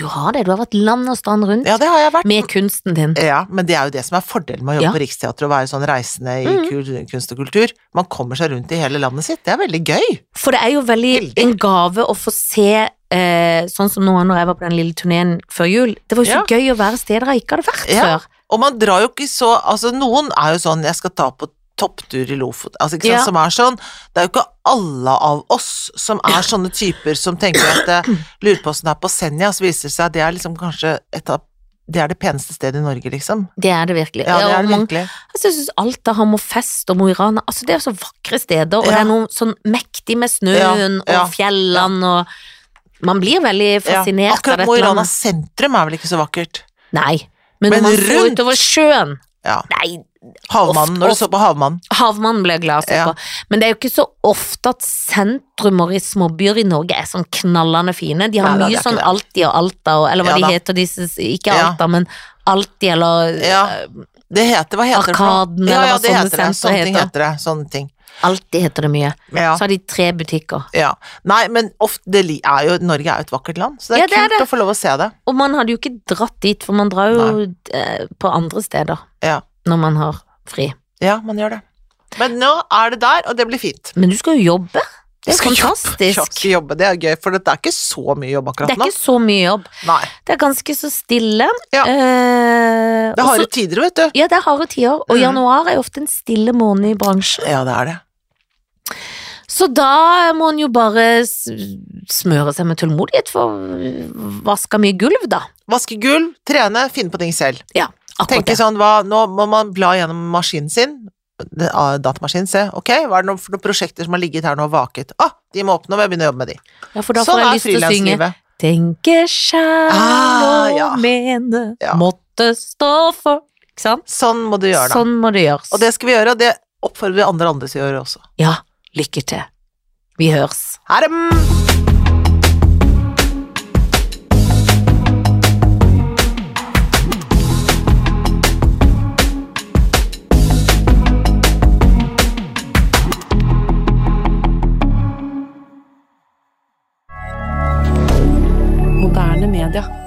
Speaker 2: du har det. Du har vært land og strand rundt
Speaker 1: Ja, det har jeg vært.
Speaker 2: med kunsten din.
Speaker 1: Ja, men det er jo det som er fordelen med å jobbe
Speaker 2: Ja.
Speaker 1: på Riksteatret og være sånn reisende i
Speaker 2: Mhm.
Speaker 1: kul- kunst og kultur. Man kommer seg rundt i hele landet sitt. Det er veldig gøy.
Speaker 2: For det er jo veldig
Speaker 1: Heldig.
Speaker 2: en gave å få se eh, sånn som nå når jeg var på den lille turneen før jul. Det var jo så gøy å være steder jeg ikke hadde vært
Speaker 1: Ja.
Speaker 2: før.
Speaker 1: Og man drar jo ikke så Altså, noen er jo sånn 'jeg skal ta på topptur i Lofoten', altså, ikke sant,
Speaker 2: Ja.
Speaker 1: som er sånn. Det er jo ikke alle av oss som er sånne typer som tenker at eh, lurer på åssen det er på Senja, så viser det seg at det er liksom kanskje et av det er det peneste stedet i Norge, liksom.
Speaker 2: Det er det virkelig.
Speaker 1: Ja, det
Speaker 2: Ja,
Speaker 1: er
Speaker 2: og
Speaker 1: det
Speaker 2: mange-
Speaker 1: virkelig.
Speaker 2: altså, jeg syns Alta, Hammerfest og Mo i Rana altså, Det er så vakre steder, og
Speaker 1: Ja.
Speaker 2: det er noe sånn mektig med
Speaker 1: Ja,
Speaker 2: snøen
Speaker 1: ja,
Speaker 2: og fjellene og Man blir veldig
Speaker 1: Ja.
Speaker 2: fascinert av
Speaker 1: Akkurat
Speaker 2: dette
Speaker 1: Mo i Rana
Speaker 2: landet.
Speaker 1: sentrum er vel ikke så vakkert.
Speaker 2: Nei. Men,
Speaker 1: Men
Speaker 2: når man ser
Speaker 1: rundt-
Speaker 2: utover sjøen
Speaker 1: Ja.
Speaker 2: Nei,
Speaker 1: Havmannen, når du så på Havmannen.
Speaker 2: havmannen ble jeg glad av å se
Speaker 1: Ja.
Speaker 2: på. Men det er jo ikke så ofte at sentrumer i småbyer i Norge er sånn knallende fine. De har
Speaker 1: Nei, da, det
Speaker 2: mye
Speaker 1: er
Speaker 2: sånn
Speaker 1: ikke det.
Speaker 2: Alti og Alta, og, eller
Speaker 1: Ja,
Speaker 2: hva
Speaker 1: da.
Speaker 2: de heter disse Ikke
Speaker 1: Ja.
Speaker 2: Alta, men Alti eller
Speaker 1: Ja. Det heter Hva heter
Speaker 2: Arkaden,
Speaker 1: det? for noe? Ja,
Speaker 2: eller
Speaker 1: ja,
Speaker 2: hva sånn
Speaker 1: det
Speaker 2: sånne
Speaker 1: heter det. Sånne ting
Speaker 2: sentre heter.
Speaker 1: heter det. Sånne ting.
Speaker 2: Alti heter det mye.
Speaker 1: Ja.
Speaker 2: Så har de tre butikker.
Speaker 1: ja. Nei, men ofte det li- er jo Norge er jo et vakkert land, så det er
Speaker 2: Ja, det er
Speaker 1: kult å få lov å se det.
Speaker 2: Og man hadde jo ikke dratt dit, for man drar jo eh, på andre steder
Speaker 1: Ja.
Speaker 2: når man har fri.
Speaker 1: Ja, man gjør det. Men nå er det der, og det blir fint.
Speaker 2: Men du skal jo jobbe. Det
Speaker 1: Jeg
Speaker 2: er
Speaker 1: skal jobbe.
Speaker 2: fantastisk.
Speaker 1: Kjapt skal jobbe, det er gøy, for det er ikke så mye jobb
Speaker 2: Det er
Speaker 1: akkurat nå.
Speaker 2: ikke så mye jobb.
Speaker 1: Nei.
Speaker 2: Det er ganske så stille.
Speaker 1: Ja.
Speaker 2: Eh,
Speaker 1: Det
Speaker 2: og
Speaker 1: har
Speaker 2: så-
Speaker 1: jo tider, vet du.
Speaker 2: Ja, det er harde tider, og
Speaker 1: Mhm.
Speaker 2: januar er jo ofte en stille måned i bransjen.
Speaker 1: Ja, det er det.
Speaker 2: Så da må en jo bare s- smøre seg med tålmodighet for å vaske mye gulv, da.
Speaker 1: Vaske gulv, trene, finne på ting selv.
Speaker 2: Akkurat
Speaker 1: Tenke
Speaker 2: det.
Speaker 1: sånn, hva, nå må man bla gjennom maskinen sin, det- ah, datamaskinen, se, ok, hva er det noen, for noen prosjekter som har ligget her nå og vaket? Ah, de må åpne, og jeg begynner å jobbe med de.
Speaker 2: Ja, for da
Speaker 1: sånn
Speaker 2: får jeg
Speaker 1: er
Speaker 2: lyst til å synge
Speaker 1: frilanslivet.
Speaker 2: tenke sjæl
Speaker 1: Ah,
Speaker 2: og
Speaker 1: ja.
Speaker 2: mene,
Speaker 1: Ja.
Speaker 2: måtte stå for Ikke sant?
Speaker 1: Sånn må du gjøre det.
Speaker 2: Sånn må det gjøres.
Speaker 1: Og det skal vi gjøre, og det oppfordrer vi andre andre til å gjøre også.
Speaker 2: Ja, lykke til. Vi høres.
Speaker 1: Ha det!
Speaker 3: Moderne media.